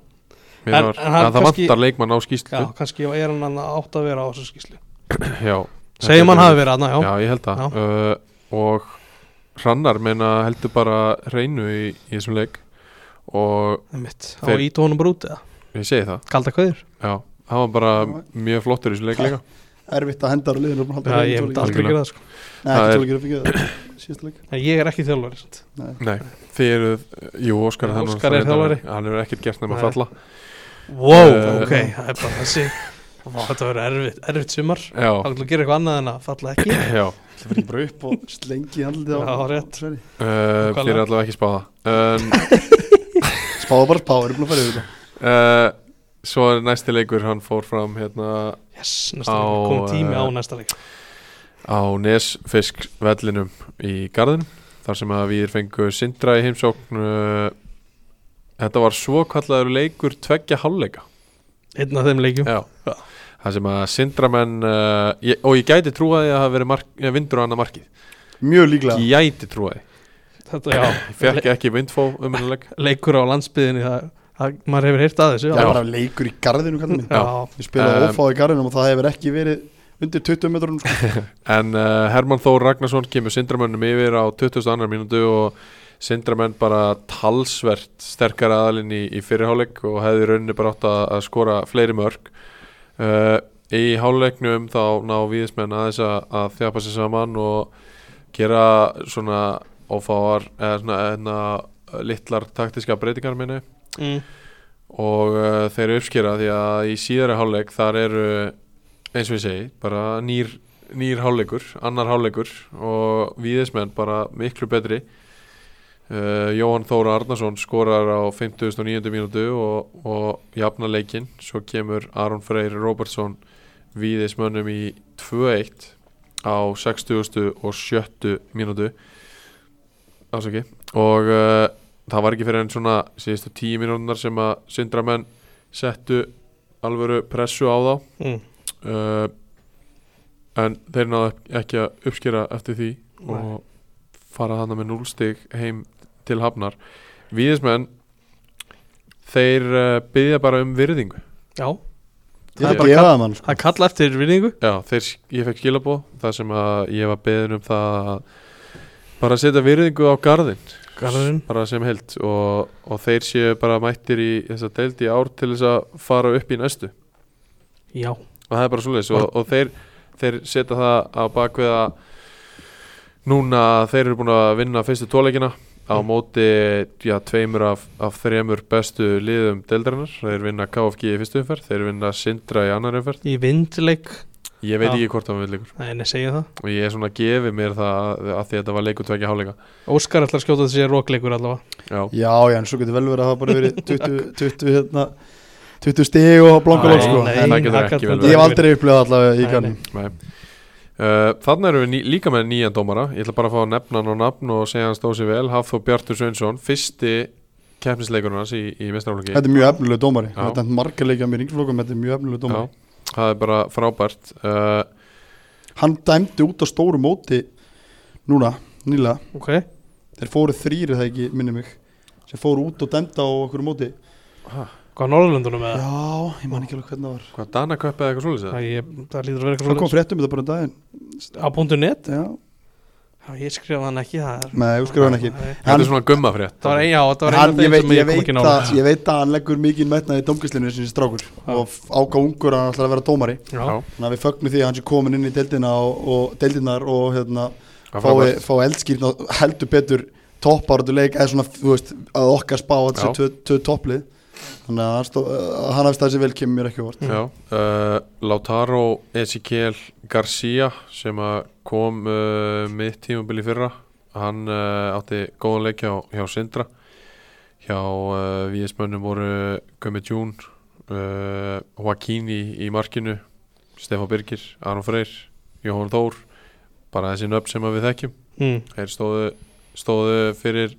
Mér
En-
var,
en hann
að það
kannski-
vantar leikmann á skýslu
já kannski er hann hann átt að vera á þessu skýslu
[clears throat] já,
Segjum hann hafi verið hann, já,
Já, ég held það uh, Og hrannar meina heldur bara reynu í, í þessum leik Og
já. mitt Á
Þeir-
ítu honum bara út eða
ég segi það
Kalda kveður
Já, hann var bara mjög flottur í þessum leik líka
erfitt að henda á liðinu og halda
Já, ég
hreinu
myndi
tóli
Algjörlega.
aldrei gera það sko
Nei,
Það
ekki
er-
tóli gera fengið það síðasta leik
En ég er ekki þjálfari sant?
Nei.
Nei, þið eruð, jú, Óskar,
Já,
hann
Óskar er þjálfari.
Hann hefur ekkert gert nema
Nei.
að falla
Wow,
Eh,
ok, [laughs] það er bara þessi Vá, Þetta verður erfitt, erfitt sumar Þá
Já,
ætlum við að gera eitthvað annað en að falla ekki
já
Það fyrir ekki bara upp og slengi handlið á
Já, rétt.
Sverri.
Uh,
Nákvæmlega.
þið eru allavega ekki spáða um,
Spáðu bara spáðu, erum búin að fara yfir þetta
uh, Svo er næsti leikur, hann fór fram hérna
Yes, næsta
Á,
leik, komum tími á
eh,
næsta leik
á Nesfiskvellinum í Garðinum þar sem að við fengu Sindra í heimsókn uh, þetta var svo kallaður leikur tveggja hálfleika
Einn af þeim leikum
Já.
Já.
þar sem að Sindramenn uh, ég, og ég gæti trúa því að það hafi verið mark, eh, vindur á annað markið
Mjög líklega
ég gæti trúa því,
Þetta, já,
ég fekk ekki vindfó um hennar leik
leikur á landsbyðinni það, það, maður hefur heyrt að þessu Mm,
Það var af leikur í garðinu kallar mig
Já.
já,
Ég spilaði
Um,
um, ófá í garðinum og það hefur ekki verið undir 20 metrum sko.
en uh, Herman Þór Ragnarsson kemur Sindramennum yfir á 22. mínútu og Sindramenn bara talsvert sterkar aðalinn í, í fyrirháleik og hefði í rauninni bara átt að, að skora fleiri mörg uh, í háluleiknum þá ná viðismenn aðeins að, að þjapa sér saman og gera svona ófáar eða svona, svona litlar taktiska breytingar minni
mm,
og uh, þeir eru uppskera því að í síðari hálfleik þar eru eins og ég segi, bara nýr, nýr hálfleikur, annar hálfleikur og viðismenn bara miklu betri uh, Jóhann Þóra Arnason skorar á 59. mínútu og, og jafna leikinn svo kemur Aron Freyr Robertson viðismönnum í 2-1 á 60. og 70. mínútu ásaki og uh, það var ekki fyrir enn svona síðustu tíu mínúnar sem að syndramenn settu alvöru pressu á þá
mm.
uh, en þeir náðu ek- ekki að uppskera eftir því
mm.
og fara þarna með núlstig heim til hafnar Víðismenn þeir uh, byggja bara um virðingu
já,
Ég
er bara
gefaði mann sko.
það er kalla eftir vinningu
Já, þeir, ég fekk skilabóð þar sem að ég var beðin um það að bara setja virðingu á garðin
Garðurinn
bara sem held og, og þeir séu bara mættir í þess að deild í ár til þess að fara upp í næstu
Já,
og það er bara svoleiðis og, og þeir, þeir setja það á bakveða núna að þeir eru búin að vinna fyrstu tóleikina á
Mm.
móti já, tveimur af, af þremur bestu liðum deildarinnar, þeir vinna KFG í fyrstu umferð, þeir vinna Sindra í annar umferð
í vindleik
ég veit
Já.
ekki hvort það var leikur
Nei, nei, segja það
og ég er svona að gefi mér það að, að því að þetta var leikur tvekja háleika
Óskar ætlar að skjóta þessi rókleikur allavega
já,
Já, já, en svo getur vel verið að það bara verið 20, 20, hérna, 20 stig og blanka lók sko.
Nei,
En
það getur ekki
gat-
vel
Ég hef aldrei upplifað allavega í garðinum
nei Uh, þannig erum við ný, líka með nýjan dómara ég ætla bara að fá að nefna hann og nafn og segja hann stóð sér vel Hafþór Bjartur Sveinsson, fyrsti keppnisleikurinn hans í, í mestrarflokki
Þetta er mjög efnilega dómari
Já.
Þetta er margar leikja mér yngslókum Þetta er mjög efnilega dómari
Já, það er bara frábært uh,
Hann dæmdi út á stóru móti Núna, nýlega
Ok,
Þeir fóru þrýri það ekki, minni mig sem fóru út og dæmda á okkur móti
hvað á Norðurlöndunum með það?
Já, ég man ekki alveg hvernig það var
Hvað, Danaköpp eða eitthvað svoleiðis?
Ég, það lítur að vera
Það
eitthvað
kom
svo
fréttum þetta bara um daginn
Á punktu net?
Já,
Já, ég skrifaði hann ekki það er...
nei, ég skrifa hann ekki
Nei.
Þetta
Hann-
er svona gummafrétt
Það var ein, já, það var ein
Hann,
af
ég,
þeim
veit,
sem
ég,
ég kom
veit
ekki nála
að, ég veit að hann leggur mikið metnaði í domgæslinu sem strákur
Já.
og f- áka ungur að hann ætla að vera dómari
Já,
Já,
þannig að við fögnum því að hann sé komin inn í deildina og, og deildinar og hérna,
það er
fái,
frábært.
fái eldskýrn og [laughs] heldur betur toppáratuleik eða svona, þú veist, að okkar spá að þessi
Já.
tvö- tvö topplið þannig að hann, stó, að hann hafði staðið sér vel kemur mér ekki á óvart
Já, uh, Lautaro Ezekiel Garcia sem að kom uh, mitt tímabili fyrra hann uh, átti góðan leik hjá, hjá Sindra hjá uh, VS-mönnum voru Gummi Tjún uh, Joaquín í, í markinu Stefán Birgir, Aron Freyr Jóhann Þór bara þessi nöfn sem að við þekkjum
mm.
þeir stóðu, stóðu fyrir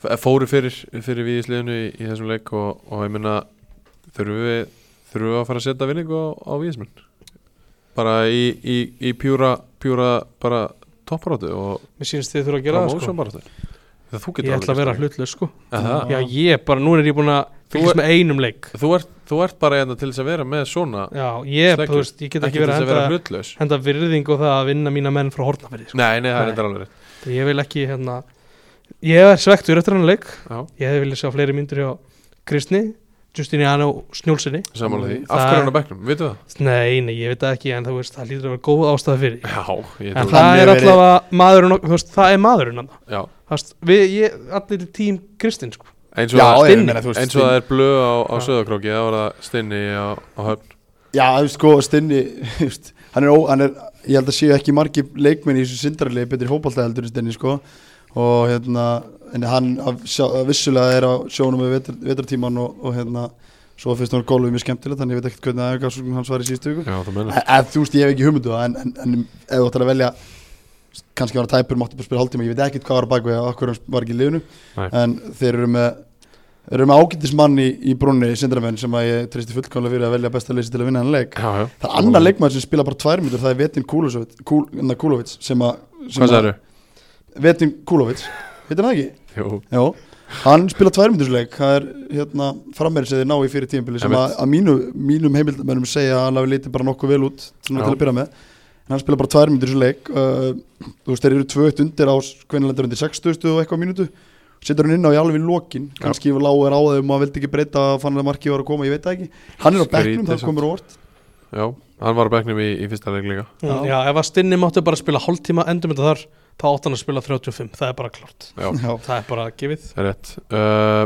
f- fóru fyrir, fyrir VS-liðinu í, í þessum leik og, og ég minna þurfum við þurfum við að fara að setja vinningu á, á VS-menn bara í, í, í pjúra, pjúra bara topparáttu og
Mér sínst þið þurfa að gera það sko
promósjón bara þetta þú getur
Ég ætla að
alveg
vera
gert
hlutlaus sko
það. Er það?
Já ég bara, nú er ég búin að fylgjast
er-
með einum leik
Þú ert, þú ert bara hérna til þess að vera með svona
Já ég,
Sleggjur.
þú veist, ég get
ekki
ekki
til
verið
þess
að
að vera
henda,
hlutlaus
henda virðing og það að vinna mína menn frá hortnaferði sko.
Nei, nei, það er
Nei.
þetta alveg rétt
Ég vil ekki hérna Ég er svektur eftir hann leik
Já,
Ég hefði viljað sjá fleiri myndir hjá Kristni Justiniano Snjólsinni
samanlega því Af
Það-
hverju er hann á bekknum, vitum við
Nei, nei, ég veit það ekki en það, veist, það lítur að vera góð ástæða fyrir því.
það? Já, ég
En
trúi
það er
Hann hefur verið-
allavega maðurinn ok- þú veist, Það er maðurinn hann
Já,
Þast, við, ég, Allir í tím Kristinn sko.
eins og
Já,
það
ég meina, þú veist,
eins og það er blöð á, á
Já.
söðakróki það var það stinni á, á höfn
Já, þú veist, sko, Stinni [laughs] þú veist, hann er, ó, hann er, ég held að séu ekki margi leikmenn í þessu sindarlegi betri hópaltæðaldur en Stinni, sko og hérna, en hann af, sjá, að vissulega er á sjónum með vetar, vetartíman og, og hérna, svo finnst hann gólfið mjög skemmtilegt, þannig ég veit ekkert hvernig aðeins hans var í síðustu viku
Já, það menna
En- en þú veist, ég hef ekki hugmyndu en, en, en ef þú ætlar að velja kannski var hann tæpur, mátti bara spila hálftíma ég veit ekkert hvað var að baka við, okkur hann var ekki í liðinu
Nei.
en þeir eru með þeir eru með ágættismann í, í brunni sindramenn sem að ég treysti fullkomlega fyrir að velja besta leysi til að vinna hann leik
Já, já
það er annar leikmaður sem spila bara tvær mítur það er Vetin Kúlovits Kúl, hérna, Kúlovits sem að sem
Hvað
að-
sagður?
Vetin Kúlovits, heitir hann það ekki?
Jú,
Jó, hann spila tvær mínutusleik það er hérna frammeiri sem þeir ná í fyrir tíðanbili sem að,
Einmitt.
að mínu, mínum heimildamennum segja að hann hafi litið bara nokkuð vel út svona
Já.
til að byrja með, en hann spila bara tvær mínutusleik uh, þú veist, þeir eru tvö eitt undir á kvennilendur undir 60 og eitthvað mínútu setur hann inn á í alveg lokin
Já.
kannski lág er á þeim og hann vildi ekki breyta fann að markið var að koma, ég veit það ekki hann er á
Skrítið
bekknum, það
samt.
komur óvart
já, hann var á bekknum í, í fyrsta leik líka
Mm, Já.
Já.
ef að Stinni mátti bara spila hálftíma endum þetta þar, þá átt hann að spila 35 það er bara klart,
Já,
Já.
það er bara gefið
það er rétt uh,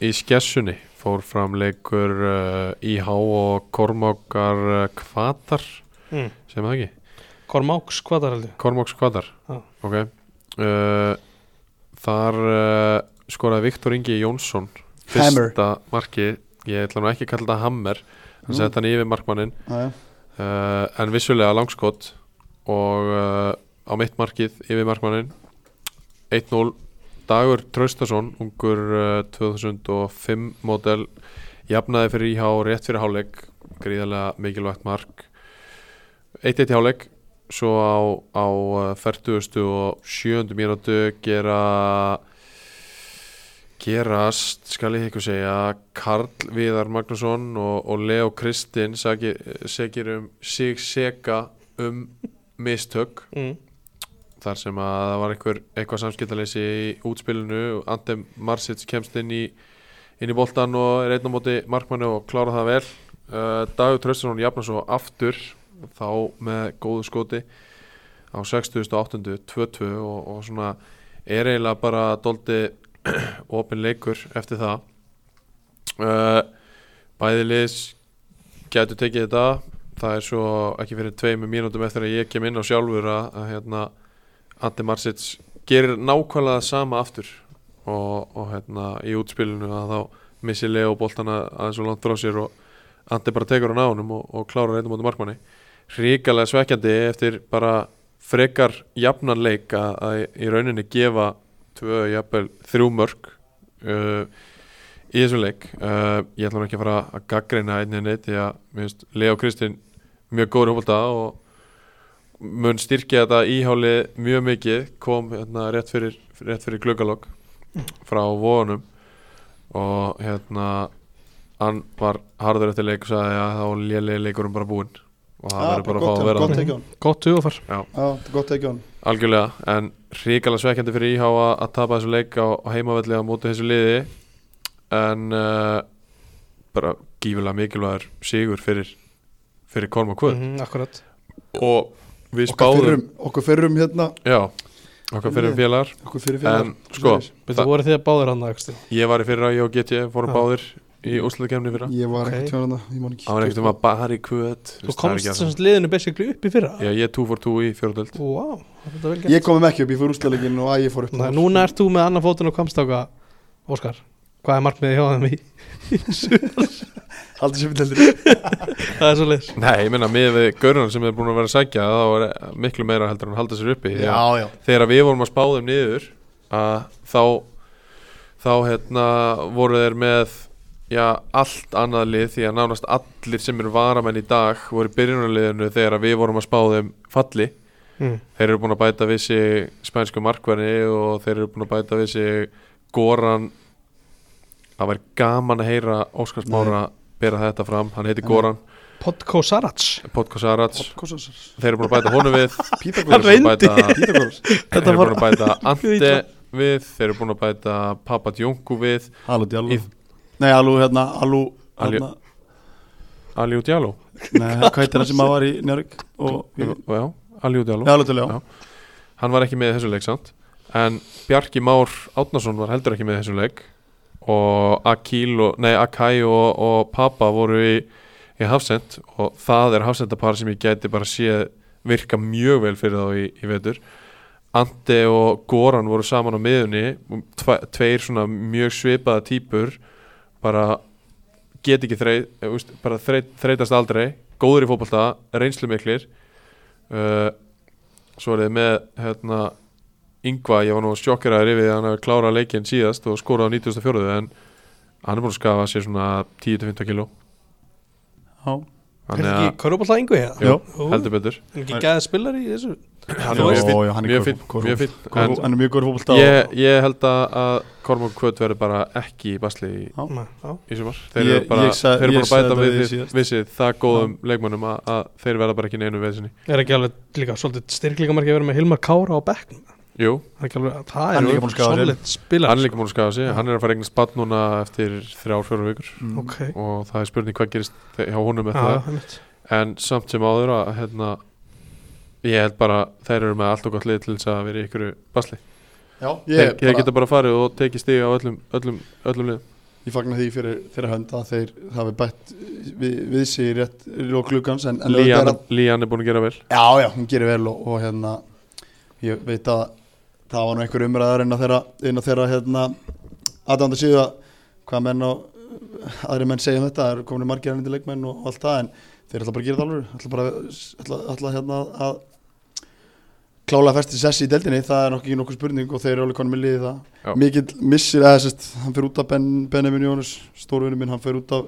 Í skessunni fór fram leikur uh, IH og Kormákar uh, Kvatar
mm.
Segir maður það ekki?
Kormáks, hvað er heldur?
Kormáks Kvatar
Já.
ok uh, þar uh, skoraði Viktor Ingi Jónsson
Hammer.
fyrsta marki ég ætla nú ekki að kalla þetta hammer hann
Nú.
sett hann yfir markmannin
Já, já.
uh, en vissulega langskot og uh, á mitt markið yfir markmannin 1-0 Dagur Traustason, ungur uh, 2005 model jafnaði fyrir IH rétt fyrir hálfleik gríðarlega mikilvægt mark 1-1 í hálfleik svo á, á uh, 40. og 7. mínútu gera gerast, skal ég ekki segja Karl Viðar Magnússon og, og Leo Kristinn sakir, segir um sig seka um mistök
Mm.
þar sem að það var einhver, eitthvað samskiptaleysi í útspilinu Andem Marsic kemst inn í, inn í boltan og er einn á móti markmanni og klára það vel uh, Dagur Tröstinsson jafnar svo aftur þá með góðu skoti á 60.8. 2-2 og, og svona er eiginlega bara doldi [clears throat] opin leikur eftir það uh, bæði liðs getur tekið þetta það er svo ekki fyrir tveimur mínútum eftir að ég kem inn á sjálfur að, að hérna Andi Marsic gerir nákvæmlega það sama aftur og, og hérna í útspilinu að þá missi Leo boltana aðeins og langt frá sér og Andi bara tekur hann á honum og, og klárar einn á móti markmanni ríkalega svekkjandi eftir bara frekar jafnan leik að, að í rauninni gefa tvö, jafnvel þrjú mörg uh, í þessum leik uh, ég ætla nú ekki að fara að gaggreina einni neitt því að mér finnst Leo Kristinn mjög góður hófalda og mun styrkja þetta íháli mjög mikið kom hérna rétt fyrir, rétt fyrir gluggalokk frá vonum og hérna hann var harður eftir leik og sagði að þá lélega leikurum bara búinn og það
Já,
verður bara að
gott
fá að
hjá-
vera
gott
þannig.
tekið á hann.
gott hugafar
Já, þetta er gott tekið á hann.
Algjörlega, en ríkala svekkjandi fyrir IH að að tapa þessu leik á, á heimavelli á móti þessu liði en uh, bara gífulega mikilvægur sigur fyrir, fyrir Korma Kvöð
mm, akkurat
og við
Okkar
spáðum
fyrrum, okkur fyrrum hérna
já, okkar fyrir um félagar
okkur fyrir
en sko,
Veitu, voru þið að báðir hann það
ég var í fyrra ég og GT fórum
Já.
báðir í úsluðkemni fyrra
ég var
Ok.
okay. ekkert hjá hann
það var ekkert um að bara í kvöð
þú komst sem sagt liðinu basically upp í fyrra
Já, ég 2x2 í fjóruðöld
wow, þetta er vel gert
Ég komum ekki upp, ég fór úrstæðlegin og að ég fór upp
Nei, núna ert þú með annan fótun og kamstáka Óskar hvað er markmiðið hjá þeim í
Aldrei sem við heldur
[laughs] það er svo leis
Nei, ég meina, miðað við gaurunum sem er búin að vera að sækja þá er miklu meira heldur en að halda sér uppi Því að
Já, já
Þegar við vorum að spá þeim niður að þá þá hérna voru þeir með já, allt annað lið því að nánast allir sem eru varamenn í dag voru í byrjunarliðinu þegar við vorum að spá þeim falli
mm.
Þeir eru búin að bæta við sig spænsku markverni og þeir eru búin að bæta við sig Goran Það væri gaman að heyra Óskars
Nei.
Mára bera þetta fram Hann heiti
Nei.
Goran,
Potko Sarats
Potko Sarats
Podkosasar
Þeir eru búin að bæta honum
[laughs]
við Þeir
Pítagoras
eru búin að
reyndi.
bæta
Pítagoras
Þeir eru búin að bæta Ante
illa.
við Þeir eru búin að bæta Papadjónku við
Alú Djallu
Í-
Nei, Alú, hérna, Alú
Alú-
hérna,
Aliú Djaló
Nei, hvað heitir það sem að var í Njörg og í-
Já, Aliú
Já,
Djaló
Alú Djallu,
Já. Hann var ekki með í þessum leik samt En Bjarki Már Átnason var heldur ekki með í þessum leik Og Akil og, Nei, Akai og, og Papa voru í, í Hafsend Og það er Hafsendapar sem ég gæti bara séð Virka mjög vel fyrir þá í, í vetur Ante og Goran voru saman á miðunni tve, Tveir svona mjög svipaða típur Bara get ekki þreit, úst, bara þreit, þreitast aldrei Góður í fótbolta, reynslu miklir uh, Svo er þið með hérna, Ingva, ég var nú sjokkeraður yfir því að hann hafi klárað leikinn síðast og skorað á 94 en hann er búin að skafa sér svona 10-15 kíló
já
er
Þannig
þetta
að,
ekki köruballtað yngu hér?
Jú,
heldur betur
er ekki gæðið spilar í þessu
Hann
Jó,
er mjög fínn,
já, hann er
mjög
körfu-
fínn,
körfu-
mjög fínn
Góður-
En
Hann er mjög góður fókbalta
ég, ég held að, að Kormák Kvöt verður bara ekki í basli í,
Já, já.
í sumar Þeir
Ég-
eru bara,
ég sa-
þeir eru
ég
bara að bæta
sagði þetta
við,
við
við,
síðast.
við sig það góðum leikmönnum að, að þeir verða bara ekki í neinu veðsynni
er ekki alveg líka svolítið styrklíkamarki að vera með Hilmar Kára á bekknum
Jú,
Það er ekki alveg, það
Hann
er
er líka búinn að skafa sér.
solid spilar
hann er líka múin að skafa sig Hann er að fara eignin spatt núna eftir þrjár, fjórum vikur
Mm.
okay.
og það er spurning hvað gerist þe- hjá honum með
Já,
það
einmitt.
en samt sem áður að hérna, ég held bara þeir eru með allt og gott lið til þess að vera í ykkur basli
Já,
þeir,
ég,
þeir
bara,
geta bara farið og tekið stig á öllum, öllum, öllum lið
ég fagna því fyrir þeirra hönd að þeir hafi bætt við, við sig í rétt í lok gluggans en, en auðvitað er
Lían,
að-
Lían er búin að gera vel
Já, já, hún gerir vel og, og hérna ég veit að það var nú einhver umræðar inn á þeirra, inn á þeirra hérna, aðdánda síðu að hvað menn og aðri menn segja um þetta, það eru komin margir ennandi leikmenn og allt það en þeir ætla bara að gera það alveg ætla bara ætla, ætla hérna að klála að festi sessi í deldinni það er nokkuð ekki nokkuð spurning og þeir eru alveg konum með liðið
Já.
það mikill missir eða sérst, hann fyrir út af ben, Benjamin Jónus stórvinni minn, hann fyrir út af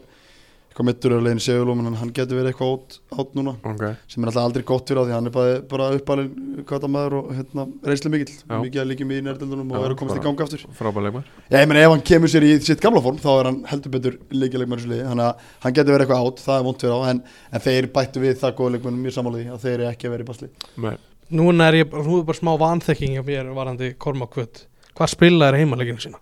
eitthvað mittur að leiðin segulum en hann getur verið eitthvað át, át núna
okay.
sem er alltaf aldrei gott fyrir á því hann er bara, bara uppalinn kvartamæður og hérna, reynslu mikill,
Já.
mikið að líkjum í nærdöldunum
Já,
og er að komast í
bara-
ganga aftur
frábæð leikmar
Já, ég meina ef hann kemur sér í sitt gamla form þá er hann heldur betur líkjaleikmæður svo liði þannig að hann getur verið eitthvað átt, það er vont fyrir á en, en þeir bættu við það góða leikmæðum mjög sammála því að þeir eru ekki að vera í basli
Núna er ég, nú er bara smá vanþekking hjá mér varandi Kormakvöt Hvað spila er heimaleikinu sína?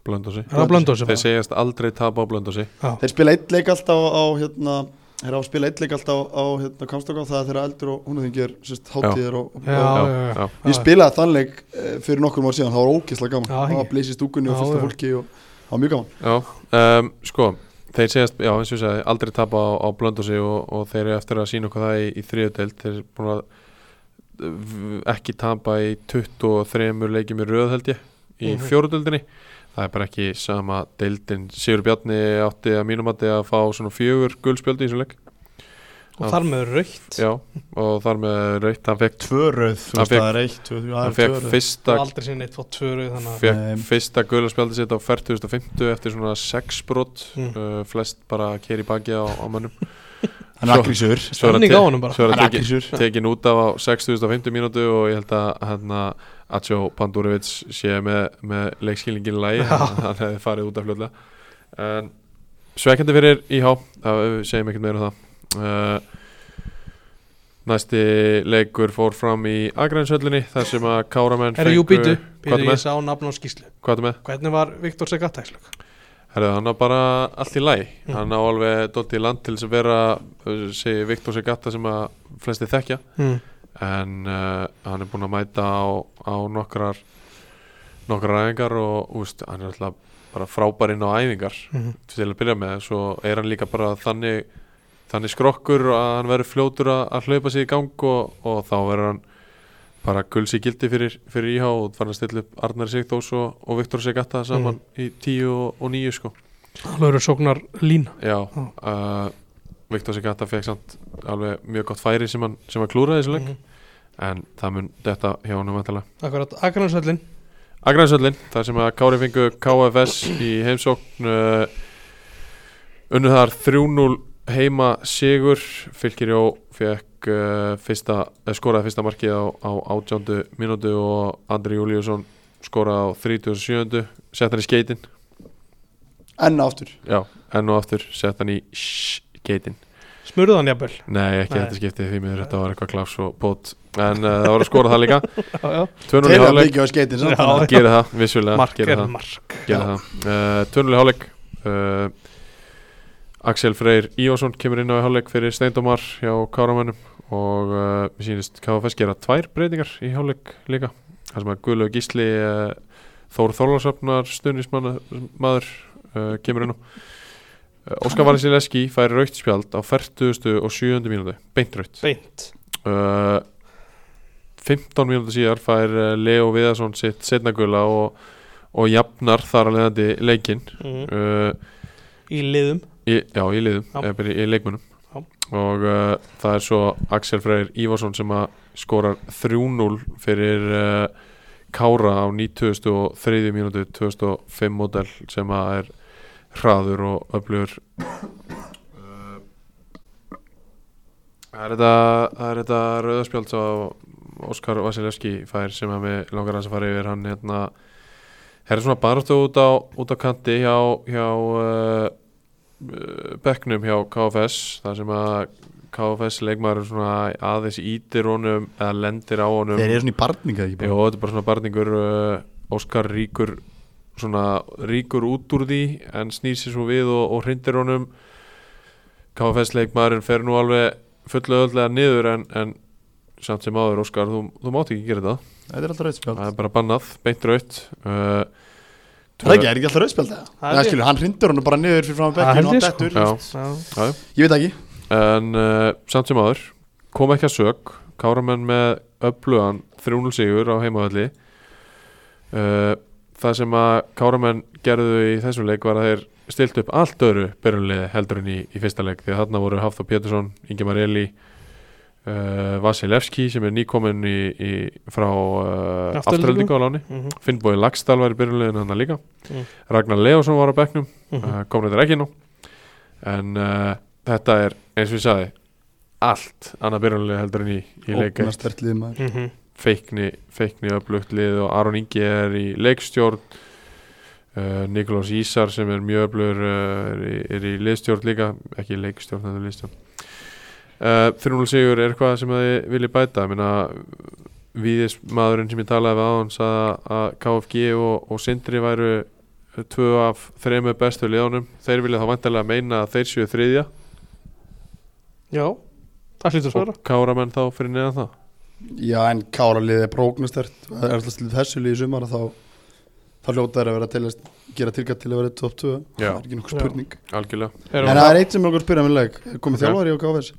blöndosi
Er það blöndu á
þeir segjast aldrei tapa á blöndosi
Þeir spila eitt leik alltaf á, á hérna, þeir hafa að spila eitt leik alltaf á, á hérna, Kamstoká það er þeirra eldur og húnuðingir hátíðir og,
Já,
og
já, já.
Ég spilaði þann leik eh, fyrir nokkur mál síðan, það var ógeðslega gaman
Já,
það var
ekki.
blés í stúkunni og
Já,
fullt af
já.
fólki og það var mjög gaman
já, um, sko þeir segjast, já eins og ég sagði, aldrei tapa á, á blöndosi og, og þeir eru eftir að sína okkur það í, í þriðudeld, þeir eru búin að v- ekki tapa í 23 leikjum í röð held ég í
Mhm.
fjóruðöldinni það er bara ekki sama deildin Sigur Bjarni átti að mínum átti að fá svona fjögur guldspjöldi í þessum leik
Og þar með raukt
já, og þar með raukt hann fekk,
tvö rauð, þú
Hann
veist
fékk-
það er eitt tvö, það
hann
er tvö
fekk
rauð
Það
fyrsta
var aldrei sinni eitt fótt tvöru þannig að
fekk
Nei.
fyrsta guldspjöldi sitt á 40.50 eftir svona 6 brot
Mm.
uh, flest bara keri baki á, á mönnum
hann
Svo-
er akrýsur
Svo er að
Þannig
te-
á honum bara.
svo er að
hann er
teki-
akrýsur
tekin út af á 6050 mínútu og ég held að hérna Atsjó Pandurovic sé með, með leikskilningin lægi, hann, hann hefði farið út af fljóðlega en svekkjandi fyrir IH, það við segjum ekkert meira um það uh, næsti leikur fór fram í Agrænshöllinni þar sem að Káramenn
Herra, jú, býtu,
hvað er
býtu, ég
með?
sá nafn á skýslu
Hvað er með?
Hvernig var Viktor Segatækslög?
Herðu, hann á bara allt í lægi
Mhm.
hann á alveg dótt í land til þess að vera uh, segi Viktor Segata sem að flesti þekkja
Mm.
en uh, hann er búinn að mæta á, á nokkrar nokkrar æfingar og úst, hann er alltaf bara frábær inn á æfingar
Mm.
til að byrja með, svo er hann líka bara þannig, þannig skrokkur að hann verður fljótur að, að hlaupa sig í gang og, og þá verður hann bara gulsi gildi fyrir, fyrir íhá og farin að stilla upp Arnar Sigþós og, og Viktor Sigatta saman í 10 og, og 9 sko
Það eru sóknar lína
já, uh, Viktor Sigatta fekk samt alveg mjög gott færi sem hann, sem hann klúraði þessu leik
Mhm.
en það mun þetta hjá hann um aðtala
Akkurat, Akransvöllin
Akransöllin, þar sem að Kári fengu KFS í heimsókn uh, unnu þar 3-0 heima sigur Fylkirjó fekk uh, fyrsta, eh, skoraði fyrsta markið á, á 18. mínútu og Andri Júliusson skoraði á 37. sett hann í skeitin
enn aftur
já, enn og aftur sett hann í skeitin
Smurðan jafnvel
nei, ekki
Nei.
þetta skiptið því miður þetta var eitthvað klás og pot en uh, það var að skora það líka
Já, já.
2-0 í
Þeirra
hálfleik,
byggja á skeitin samt
Já.
þannig að-
gera það vissulega,
Mark
gera
er
það
mark
gera það uh, Tönuleg hálfleik uh, Axel Freyr Íjónsson kemur inn á í hálfleik fyrir Steindomar hjá Káramönnum og uh, mér sýnist KFS gera tvær breytingar í hálfleik líka þar sem að Guðlaug Gísli uh, Þór Þorlarsöfnar stunnismadur uh, kemur inn á Uh, Óskar Valensileski fær raukt spjald á 40. og 7. mínúti beint raukt
Beint
uh, 15 mínútur síðar fær uh, Leo Viðarsson sitt setnagula og, og jafnar þar að leiðandi leikinn
mm.
uh,
Í liðum
í, já, í liðum,
Já.
eða bara í, í leikmunum
Já.
og uh, það er svo Axel Freyr Ívarsson sem að skorar 3-0 fyrir uh, Kára á 93. mínútu 2005 model sem að er hraður og öflugur Uh, Það er þetta, það er þetta rauðaspjald á Óskar Vasilevski fær sem að mig langar aðeins að fara yfir hann hérna Það er svona baráttu út á, út á kanti hjá, hjá uh, uh, bekknum hjá KFS þar sem að KFS leikmaður svona aðeins ítir honum eða lendir á honum
Þeir eru svona í barninga ekki
Jó,
bara
þetta er bara svona barningur uh, Óskar ríkur svona ríkur út úr því en snýr sér svo við og, og hrindir honum KFS leikmaðurinn fer nú alveg fullu öllega niður en, en samt sem áður Óskar, þú, þú mátt ekki gera þetta
Þetta er alltaf rauðspjald
það er bara bannað, beint raut uh,
Það er ekki, er ekki alltaf rauðspjald það?
Það er
Það
ég.
skilur, hann hrindur hann bara niður fyrir fram að
Það
bekkinu
held
og
ég,
hann
sko.
dettur
Já.
Já.
Ég veit ekki
en uh, samt sem áður kom ekki að sög Káramenn með öflugan 3-0 sigur á heimavalli uh, það sem að Káramenn gerðu í þessum leik var að þeir stilt upp allt öðru byrjunliði heldur en í, í fyrsta leik því að þarna voru Hafþór Pétursson, Ingemar Eli uh, Vasilevski sem er nýkominn í, í, frá uh,
Aftureldingu.
afturöldingu á láni
Mhm.
Finnbói Lagstall var í byrjunleginu hann líka
Mm.
Ragnar Leosson var á bekknum
Mhm.
uh, kom reyndar ekki nú en uh, þetta er eins og ég sagði allt annað byrjunlega heldur en í, í leika
Ópna stertlið maður
Mhm.
feikni, feikni öflugt lið og Aron Ingi er í leikstjórn uh, Nikolás Ísar sem er mjög öflugur uh, er, í- er í liðstjórn líka ekki leikstjórn, þetta er liðstjórn uh, 3-0 sigur er eitthvað sem þið viljið bæta ég meina viðismadurinn sem ég talaði við áðan sagði að KFG og, og Sindri væru tvö af þremu bestu liðunum þeir vilja þá vantarlega meina að þeir séu þriðja
Já Það hlýtur svara
og káramenn þá fyrir neðan það
Já, en kára liðið er prógnastert Það er alltaf slið þessu liðið í sumar að þá þá hljóta er að vera til að gera tilkvæmt til að vera top 2 Það
Já.
er ekki nokkuð
Já.
spurning
algjörlega,
Erum
En
við-
það er eitt sem okkur spyrja með leik Er Komið
Ok.
þjálfari á KFS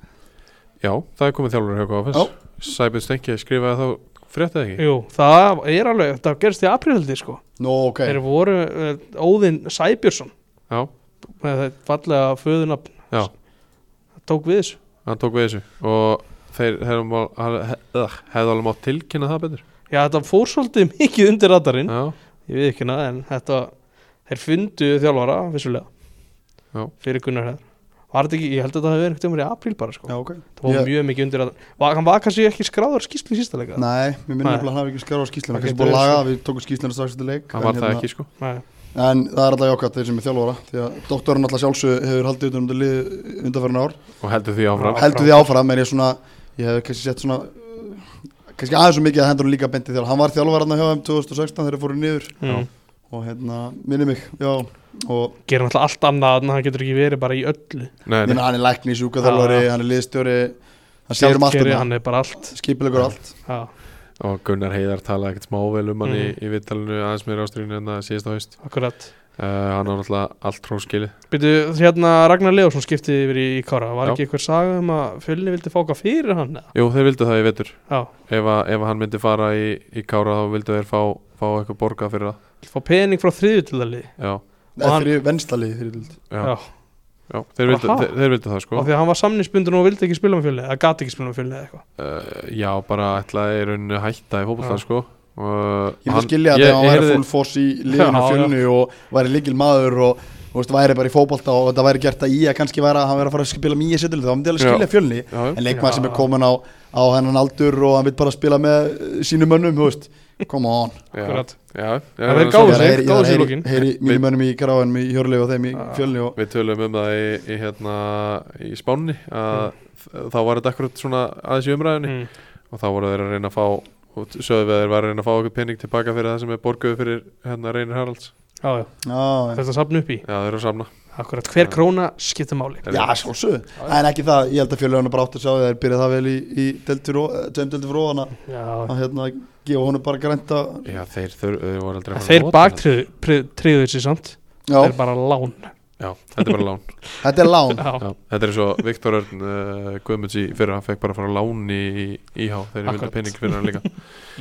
já, það er komið þjálfur hjá KFS
Já.
Sæbjörn Stenki skrifaði þá fréttið ekki
Jú, það er alveg, það gerst í apríhaldi sko
Nó, ok
Þeir voru uh, Óðinn Sæbjörnsson
Já,
með þetta fallega föðunafn
Já.
Það tók við þessu
hann tók við þessu og þeir hefðu mál- hann- he- ugh, hefðu alveg mátt tilkynna það betur
Já, þetta fór svolítið [laughs] mikið undir radarinn
Já,
Ég við ekki hana, en þetta Þeir fundu þjálfara, vissulega
Já.
Fyrir Gunnar Heðar Var þetta ekki, ég held að það hefði verið einhvern veginn í apríl bara sko
Já, ok
Það var
Ég-
mjög mikið undir radarinn var, Hann var kannski ekki skráður skýslu í sísta leika
Nei, mér minnum
Nei.
að hann hafi ekki skjára á skýsluna
Það
Kanski
getur
búið að
verið
laga,
svo.
við tókum skýsluna strax eftir leik
hann
en
var það
hérna-
ekki sko
Nei,
En það er alltaf jákvæmt þeir sem er þjálfara Því að doktorinn alltaf sjálfsög hefur haldið utan um þetta lið undanferðin ár
og heldur því áfram
Já.
Heldur því áfram en ég svona Ég hef kannski sett svona uh, Kannski aðeins svo mikið að hendur hún líka bendið þjálfara Hann var þjálfaraðna hjá þeim 2016 þegar þeir fóru niður
mm.
Og hérna, minni mig, já Og
Gerum alltaf allt annað en hann getur ekki verið bara í öllu
Nei,
minna,
nei,
hann er lækni, sjúkaþjálfari,
Já, já.
hann er liðstjóri Hann sér um allt
Sjálfgeri,
um
Hann er bara allt
Skipilegur allt
Já,
Mm.
og Gunnar Heiðar talaði ekkert smável um hann í, í vittalinu aðeins meira ástríðinu en það síðast á haust
akkurat
uh, hann á náttúrulega allt hróskilið
Býtu, hérna Ragnar Leósson skipti yfir í, í Kára Var
Já.
ekki einhver saga um að fjölni vildi fá hvað fyrir hann? eða?
Jú, þeir vildu það í vetur
Já,
ef, að, ef að hann myndi fara í, í Kára þá vildu þeir fá, fá eitthvað borgað fyrir það
fá pening frá þriðu til það lið
Já,
Og hann-
Þeir eru venstalið þeir eru
já,
Já,
já. þeir, vildu,
Aha.
þeir, þeir vildu það sko
af því að hann var samninsbundin og vildi ekki spila með fjölni Það gati ekki spila með fjölni eða eitthvað
uh, Já, bara ætlaði í rauninni að hætta í fótbolta
Já.
sko Uh,
Ég vil skilja að
ég-
þegar hann
ég
væri
heyrði-
full force í liðinu
Já,
fjölnu og væri líkil maður og þú veist, væri bara í fótbolta og þetta væri gert að í að kannski væri að hann væri að fara að spila mýja setjulegu þá myndi ég alveg skilja fjölni
Já, já.
en leikmaður sem er
Já.
komin á, á hennan aldur og hann vil bara spila með eh, sínum mönnum þú veist. come on
já,
Akkurat.
já, já,
Það er
já,
gáðu
svo-
sig,
Ég er að heyri- ég er
gáðu
að
sig í
heyri-
lokin.
heyri mínum mönnum í Karavan í Hjörlegu og þeim í
Ah.
fjölni og
Við tölum um það í, í, hérna, í Spánni að þá var þetta akkurat svona aðeins í umræðinni
mm.
og þá voru þeir að reyna að fá og sögðu við að þeir var að reyna að fá okkur pening tilbaka fyrir það sem er borguðu fyrir hérna Reynir Haralds
Já, já,
Já, já.
þetta sapna upp í
Já, þeir eru að samna
Akkurat, hver
Já.
króna skiptir máli
Þeir
Já,
eru-
sjálfsögðu, en ekki það, ég held að fjölöfuna bara átt að sjá að þeir byrja það vel í, í deltur og, tveim deltur frá hana
Já,
að hérna gefa honum bara grænta
Já, þeir, þeir, þeir voru aldrei að fara að
þeir
nota þetta.
baktriðu sér samt
Já,
Það er bara lán
Já, þetta er bara lán
þetta er lán
Já,
Já, Þetta er svo Viktor Örn uh, Guðmunds í fyrir hann fekk bara að fara á lán í íhá þegar ég vildi
Akkurat.
pening fyrir hann líka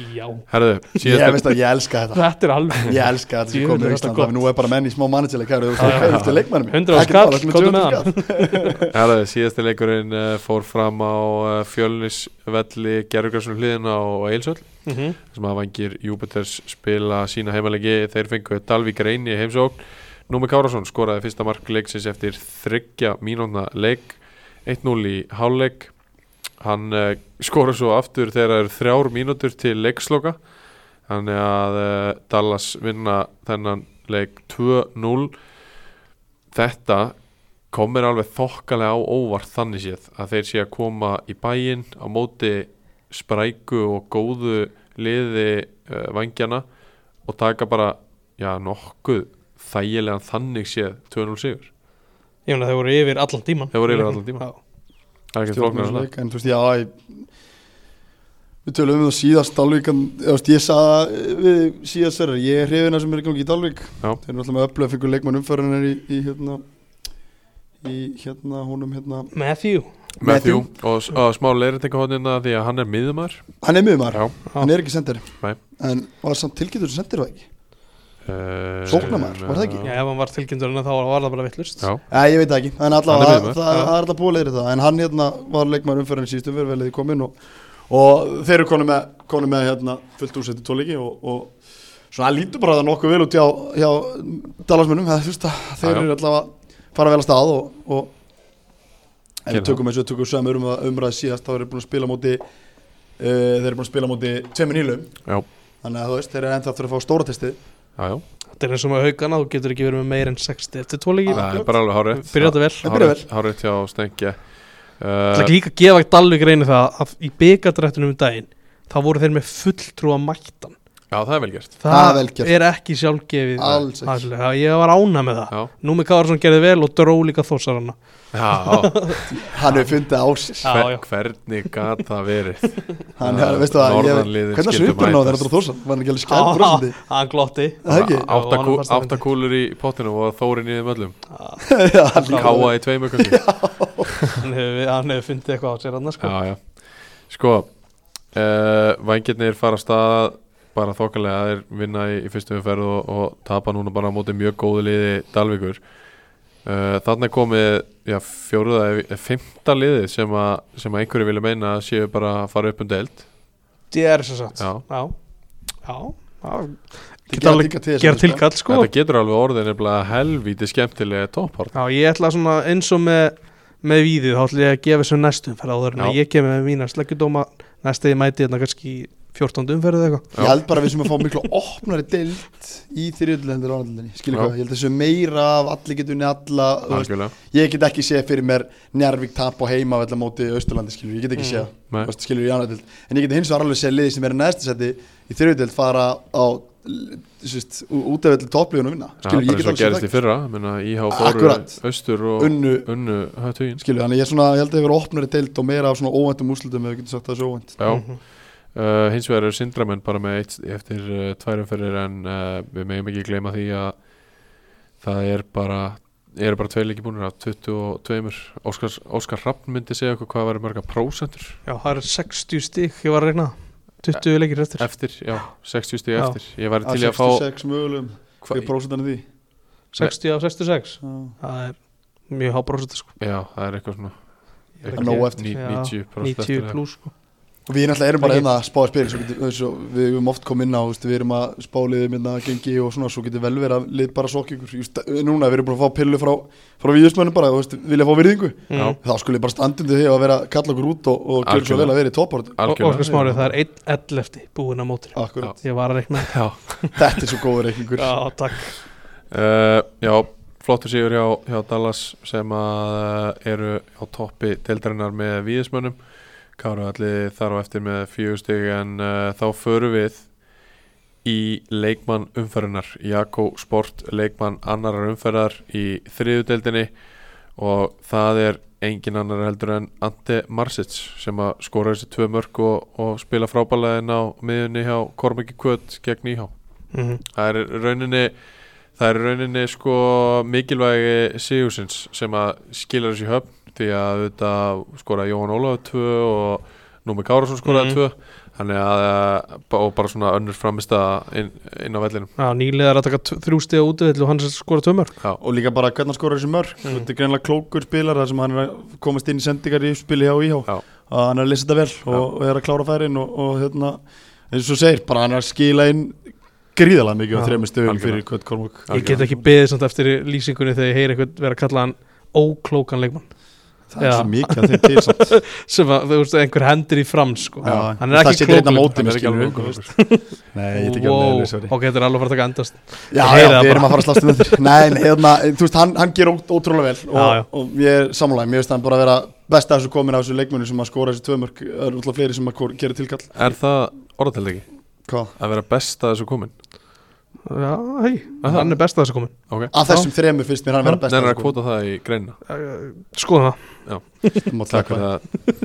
[laughs] já
Herðu,
Ég
síðast
veist að ég elska þetta
Þetta er alveg
[laughs] Ég elska þetta sem
Djöfull
komið
er
í
þetta
Ísland
gott.
af því Nú er bara menn í smá mannitilegt Hvað eru
Já, já,
þú
já.
eftir leikmannum?
100 á
Ekkert mál,
skall,
ertu með
komdu með
200
hann.
skall?
herðu, síðasti leikurinn uh, fór fram á uh, fjölnisvelli Gerrugarsson hliðina og Eilsöll
Mhm.
sem að vangir Júpiters spila sína heimalegi þeir fengu Dalvík reyni í heimsókn Númi Kárasson skoraði fyrsta mark leiksins eftir þryggja mínúna leik 1-0 í hálfleik hann uh, skora svo aftur þegar það eru þrjár mínútur til leiksloka þannig að uh, Dallas vinna þennan leik 2-0 þetta kom mér alveg þokkalega á óvart þannig séð að þeir sé að koma í bæinn á móti spræku og góðu liði uh, vangjana og taka bara já, nokkuð þægilegan þannig séð 2-0 sigur
Ég meina, þeir voru yfir allan tíman
Þeir voru yfir allan tímann.
Já,
það er ekki
Stjórnum
flóknar
þessu
en það
leik, En þú veist, já ég- Við tölum um það síðast Dalvík en, þú veist, Ég sagði það við síðast þeirra Ég er hrifin að sem er í gangi í Dalvík
Já.
Þeir eru alltaf með öflöð fengur leikmann umfæranar í, í hérna Í hérna húnum hérna
Matthew
Matthew
Matthew.
og, og smá leiritekahotnina því að hann er miðumar
Hann er miðumar,
Já.
hann er ekki sendir
Nei.
En var samt tilkynntur sem sendir það ekki? Eh,
uh,
Sóknarmaður, var það ekki?
Já, ef hann var tilkynntur en þá var það bara vittlust
Já.
Já, ég veit það ekki, en
Hann
allavega
er
það,
miðjumaður.
það,
Já.
það er alltaf búið leiðir það en hann hérna var leikmaður umferðin síðustu umferð vel eða komin og, og þeir eru konum með, konum með hérna, fullt úrsett í tóliki og, og svona hann lítur bara það nokkuð vel út hjá, hjá dalasmönnum, það, þú veist að þeir
Já, já.
eru allavega fara vel að stað og, og en
Gerðu
við tökum eins og við tökum sömur um að umræða síðast þá eru þeir búin að spila á móti uh, þeir eru búin að spila á móti tveimur nýlum
Já.
þannig að þú veist, þeir eru ennþá aftur að fá stóra testið
Já, já.
Þetta er eins og með haugana, þú getur ekki verið með meir en 60 eftir tvoleiki
það er bara alveg hárið
Byrja þetta vel
Það byrjar vel.
hárið hjá Stengja
Það er
uh,
líka að gefa Dalvik reyni það að í byggardrættunum um daginn þá voru þeir með fulltrúa mættan
Já, það er vel gert
Það er vel gert.
er ekki sjálfgefið
Alls ekki.
Alls- Já, Ég var ána með það
Já,
Númi Káðarsson gerði vel og dró líka þósarana
já
hann hefur fundið á sér
[laughs] Já,
hver,
já.
hvernig gat það verið
hann, veistu það, ég-
Norðanliðin
hvernig
skyldu
svipurinn á þeirra
mætast.
dróð þósan var hann ekki alveg skæð brosandi
Hann glotti
Það ekki?
Bara átta
Jú,
kú-
honum fannst það
átta
fyndið.
kúlur í pottinu og Þóri niður möllum [laughs]
Já, hann líka.
Káa í tveimu kannski
[laughs] Hann hefur hann hefur fundið eitthvað á sér annars sko.
Já, já. Sko, uh, vængirnir fara af stað bara þokkalega að þeir vinna í, í fyrstu umferð og, og tapa núna bara á móti mjög góðu liði Dalvíkur. Uh, þannig er komið já, fjóruða, eða fymta liði sem, a, sem að einhverju vilja meina að séu bara að fara upp um deild.
Það er svo satt
Já.
Já, já, já.
Þeir
Geta
gera
alveg
líka til þessu,
Gera
sko.
tilkall sko
Þetta getur alveg orðið nefnilega helvíti skemmtilega topphort.
Já, ég ætla svona eins og með með víðið, þá ætla ég að gefa sem næstum fyrir áður en
Já.
að ég kemur með mína sleggjudóma næsta ég mæti hérna kannski í 14. umferð eða eitthvað
ég held bara að við sem að fá miklu opnari deild í þriðjöldinni og annarlindinni skilur
Já.
hvað, ég held þessu meira af allir getur unni alla þú veist,
Algjörlega.
ég get ekki séð fyrir mér Njarvík tap og heima vella móti Östurlandi skilur, ég get ekki
Mm.
séð
Nei.
þú veist, skilur í annar deild, en ég get hins vegar alveg séð liði sem er í neðsta seti í þriðjöld fara á útafell topplíðun og vinna
Já, bara
skilur, ég
eins
get
og gerist í
alveg séð það.
fyrra, menna íhá fóru
Akkurat.
austur og
unnu
unnu hötugin.
skilur, þannig ég, er svona, ég held að það hefur opnari deild og meira af svona óvæntum úslutum ef við getum sagt það svo óvænt
Já,
Mhm.
Uh, hins vegar eru eh, syndramenn bara með eitt eftir uh, tværumferðir en uh, við meðum ekki gleyma því að það er bara eru bara tvei leiki búinir af 22 Óskar, Óskar Rappn myndi segja okkur hvað var mörga prósentur
Já, það er 60 stík, ég var að regna 20 leikir eftir
eftir, já, 60 stíð
Já.
eftir ég væri til
að
í að fá
66 mögulegum
hva,
hvað er prósentan því
60 af 66
Já.
Það er mjög hábrósið sko.
já, það er eitthvað svona
Ég er
eitthvað
ekki-
nóg eftir.
ní-
Já,
90 prósent
90
eftir
pluss sko.
og við náttúrulega erum bara
Ekki.
hérna að spá að spila svo getur, svo, við höfum oft komið inn á þú veist, við erum að spá liðum hérna að gengi og svona svo getur vel verið að lið bara sokk ykkur Just, eh, núna við erum búin að fá pillu frá, frá výðismönnum bara þú veist, vilja fá virðingu
Já.
Mm.
þá skulle ég bara standundi því að vera að kalla okkur út og, og gera svo
Algjörlega.
vel að vera í topport
Og
algjörlega
Óskar Smári, það er 1 eftir búin á mótri
akkurat,
Ég var að regna
já,
þetta er svo góður reikningur
Já, takk
uh, já flottur sigur hjá, hjá Dallas sem að uh, eru á toppi deildarinnar með víðismönnum Káru allir þar á eftir með fjögustig en uh, þá förum við í leikmann umferðinar Jakko Sport leikmann annarar umferðar í þriðu deildinni og það er engin annar heldur en Ante Marsic sem að skora þessi tvö mörg og, og spila frábælaðin á miðunni hjá Kormaki Kvöt gegn Íhá
Mhm.
það er rauninni það er rauninni sko mikilvægi Sigurðsins sem að skilja þessu höfn því að þetta skora Jóhann Ólaf 2 og Númi Kárasson skoraði
Mhm.
2 þannig að og bara svona önnur framist að inn, inn á vellinum
Já, nýlega er að taka t- þrjú stiga útivill og hann er skora tvö mörg
já,
og líka bara hvernig hann skorar þessi mörg
Mm.
þetta er greinlega klókur spilar þar sem hann er að komast inn í sendingar í spili hjá íhá
Já.
að hann er að lesa þetta vel og, og er að klára færin og, og hérna, eins og þú segir bara hann er að skila inn gríðalega mikið á
Já.
þrejum stöðum
Algjörlega.
fyrir Kvöld Kormok
Ég get ekki beðið samt eftir lýsingunni þegar ég heyri eitthvað vera að kalla hann óklókan leikmann
það er
Já.
svo mikið að þeim til
[laughs]
samt
sem að, þú veist, einhver hendur í fram sko.
Já,
Hann er
það
ekki
situr einn á
klókan
móti
Hann er
mér
ekki
skilur
alveg
við, þú
okkur
veist. Nei, ég get ekki alveg
Wow,
leiðileg, sorry.
ok, þetta er alveg að fara að taka endast
Já,
Ég
já,
heyri það
við erum
bara.
að fara að slást
[laughs]
um þetta Nei, en hérna, þú veist, hann, hann gerir ótt- ótrúlega vel og,
Já, já.
og ég er samlæg, mér finnst hann bara að vera best að þessu komin af þessu leikmunni sem að skora þessi tvömörk Það eru alltaf fleiri sem að kor- gera tilkall
er það orðatældegi
Hvað?
að vera best að þessu komin
Já, hei, hann er best að þessu komin
okay.
Af þessum þremur finnst mér hann vera best
Nei, er að kvota það í greina
Eh, Skoðum það,
komin
Takk fyrir það,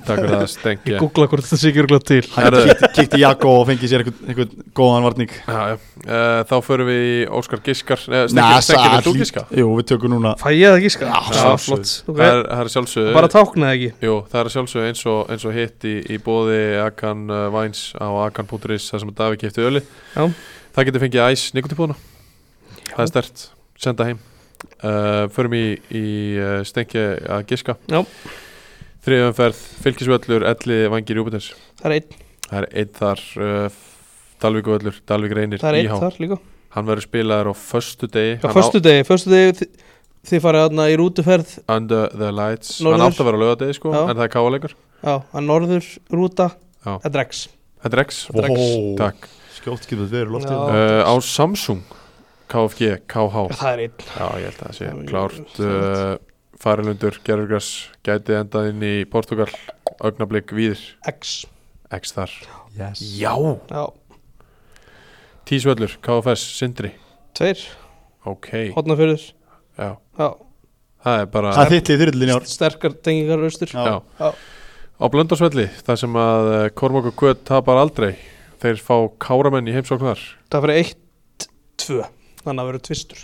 takk fyrir það
ég
stengja
googla hvort þetta sé ekki örgulega til
Hann
Herðu.
kíkti- kíkti Jakko og fengi sér einhvern, einhvern góðan varning
Já, já. Uh, þá förum við í Óskar Giskar Eh, Nei,
Nei,
Stengir, Stengir,
það
er þú
hlýt-
Giska?
Jú, við tökum núna
Fæ ég það ekki, sko?
Já,
sjálfsögðu.
flott
Það
okay.
er, það er sjálfsögðu
Bara táknaði ekki
Jú, það er að sjálfsögðu eins og, eins og hitt í, í bóði Akan uh, Vines á akan.is þar sem að Davík hefði öli
Já.
Það getur fengið æs nikotipóna Það er stert, senda heim uh, Förum í, í uh, stengi að giska
Já.
Þriðumferð, fylgisvöllur, elli vangir júbitins
Það er einn,
Það er einn þar uh, Dalvíkvöllur, Dalvík reynir
það er einn
IH.
þar líka
Hann verður spilaður á föstu degi
Já, förstu degi, förstu degi þi- þið farið aðna í rútuferð
Under the lights Hann
Norður.
átti að vera á lögadegi sko
Já.
En það er káleikur
Já, að norður, rúta,
Já.
að dregs
Þetta er X
Þetta er X.
Vó,
Takk
Skjótt getur verið
Já.
loftið
uh, á Samsung KFG, KH
Það er einn
já ég held að það sé
Já, ég-
klárt
það
uh, farilundur, gerurgras gæti endað inn í Portugal augnablík víðir,
X
X þar
Yes
já,
Já,
tísvöllur, KFS, Sindri
tveir,
ok,
hotnafjörður
já,
Já,
það er bara
Það er þitt í þyrlunni í ár
sterkar tengingar austur
já.
Já.
á Blöndarsvelli, þar sem að uh, Kormok og Kvöt tapar aldrei þeir fá káramenn í heimsókn þar
Það fyrir eitt, tvö Þannig að verður tvistur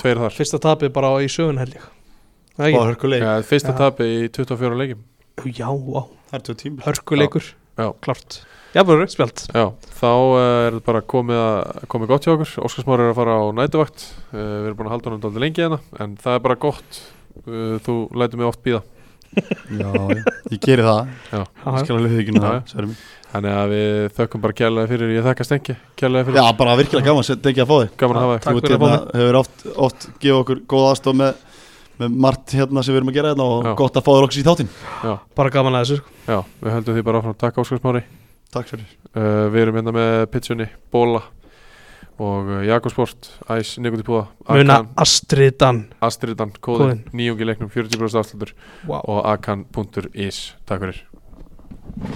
tveir þar,
Fyrsta tapið bara á í sögun held ég Það
Bá
er
hörkuleik,
ja, Eh, fyrsta
Já.
tapi í 24 leikim
ekki? Já, á,
það er tvo tíma
hörkuleikur
Já.
Klart Já, bara spjald
Já, þá eh, er þetta bara komið, að, komið gott hjá okkur Óskar Smári er að fara á nætuvakt Eh, Við erum búin að halda honum dálítið lengi hérna En það er bara gott Eh, Þú lætur mig oft býða
Já, já, ég geri það Ég skal alveg hugina
Já,
það,
já.
særi mig
Þannig að við þökkum bara kjærlega fyrir Ég þakka stengi, kjærlega fyrir
Já, bara virkilega gaman, þetta ekki að fá þig
Gaman að hafa
Takk
þig
Þú ert
fyrir að fá
hérna, hefur oft, oft gefið okkur góð aðstof með, með margt hérna sem við erum að gera hérna og
Já.
gott að fá þér okkur í þáttinn
Bara gaman að þessu sko.
Já, við höldum því bara áfram Takk Óskar Smári
Takk fyrir
uh, Við erum hérna með pitchunni, bóla Og uh, Jakobsport, Æs, Nikotipúða
Muna Astridan
Astridan, kóðin,
Kóðinn.
nýjungi leiknum 40% afslutur
Wow
Og akan.is Takk fyrir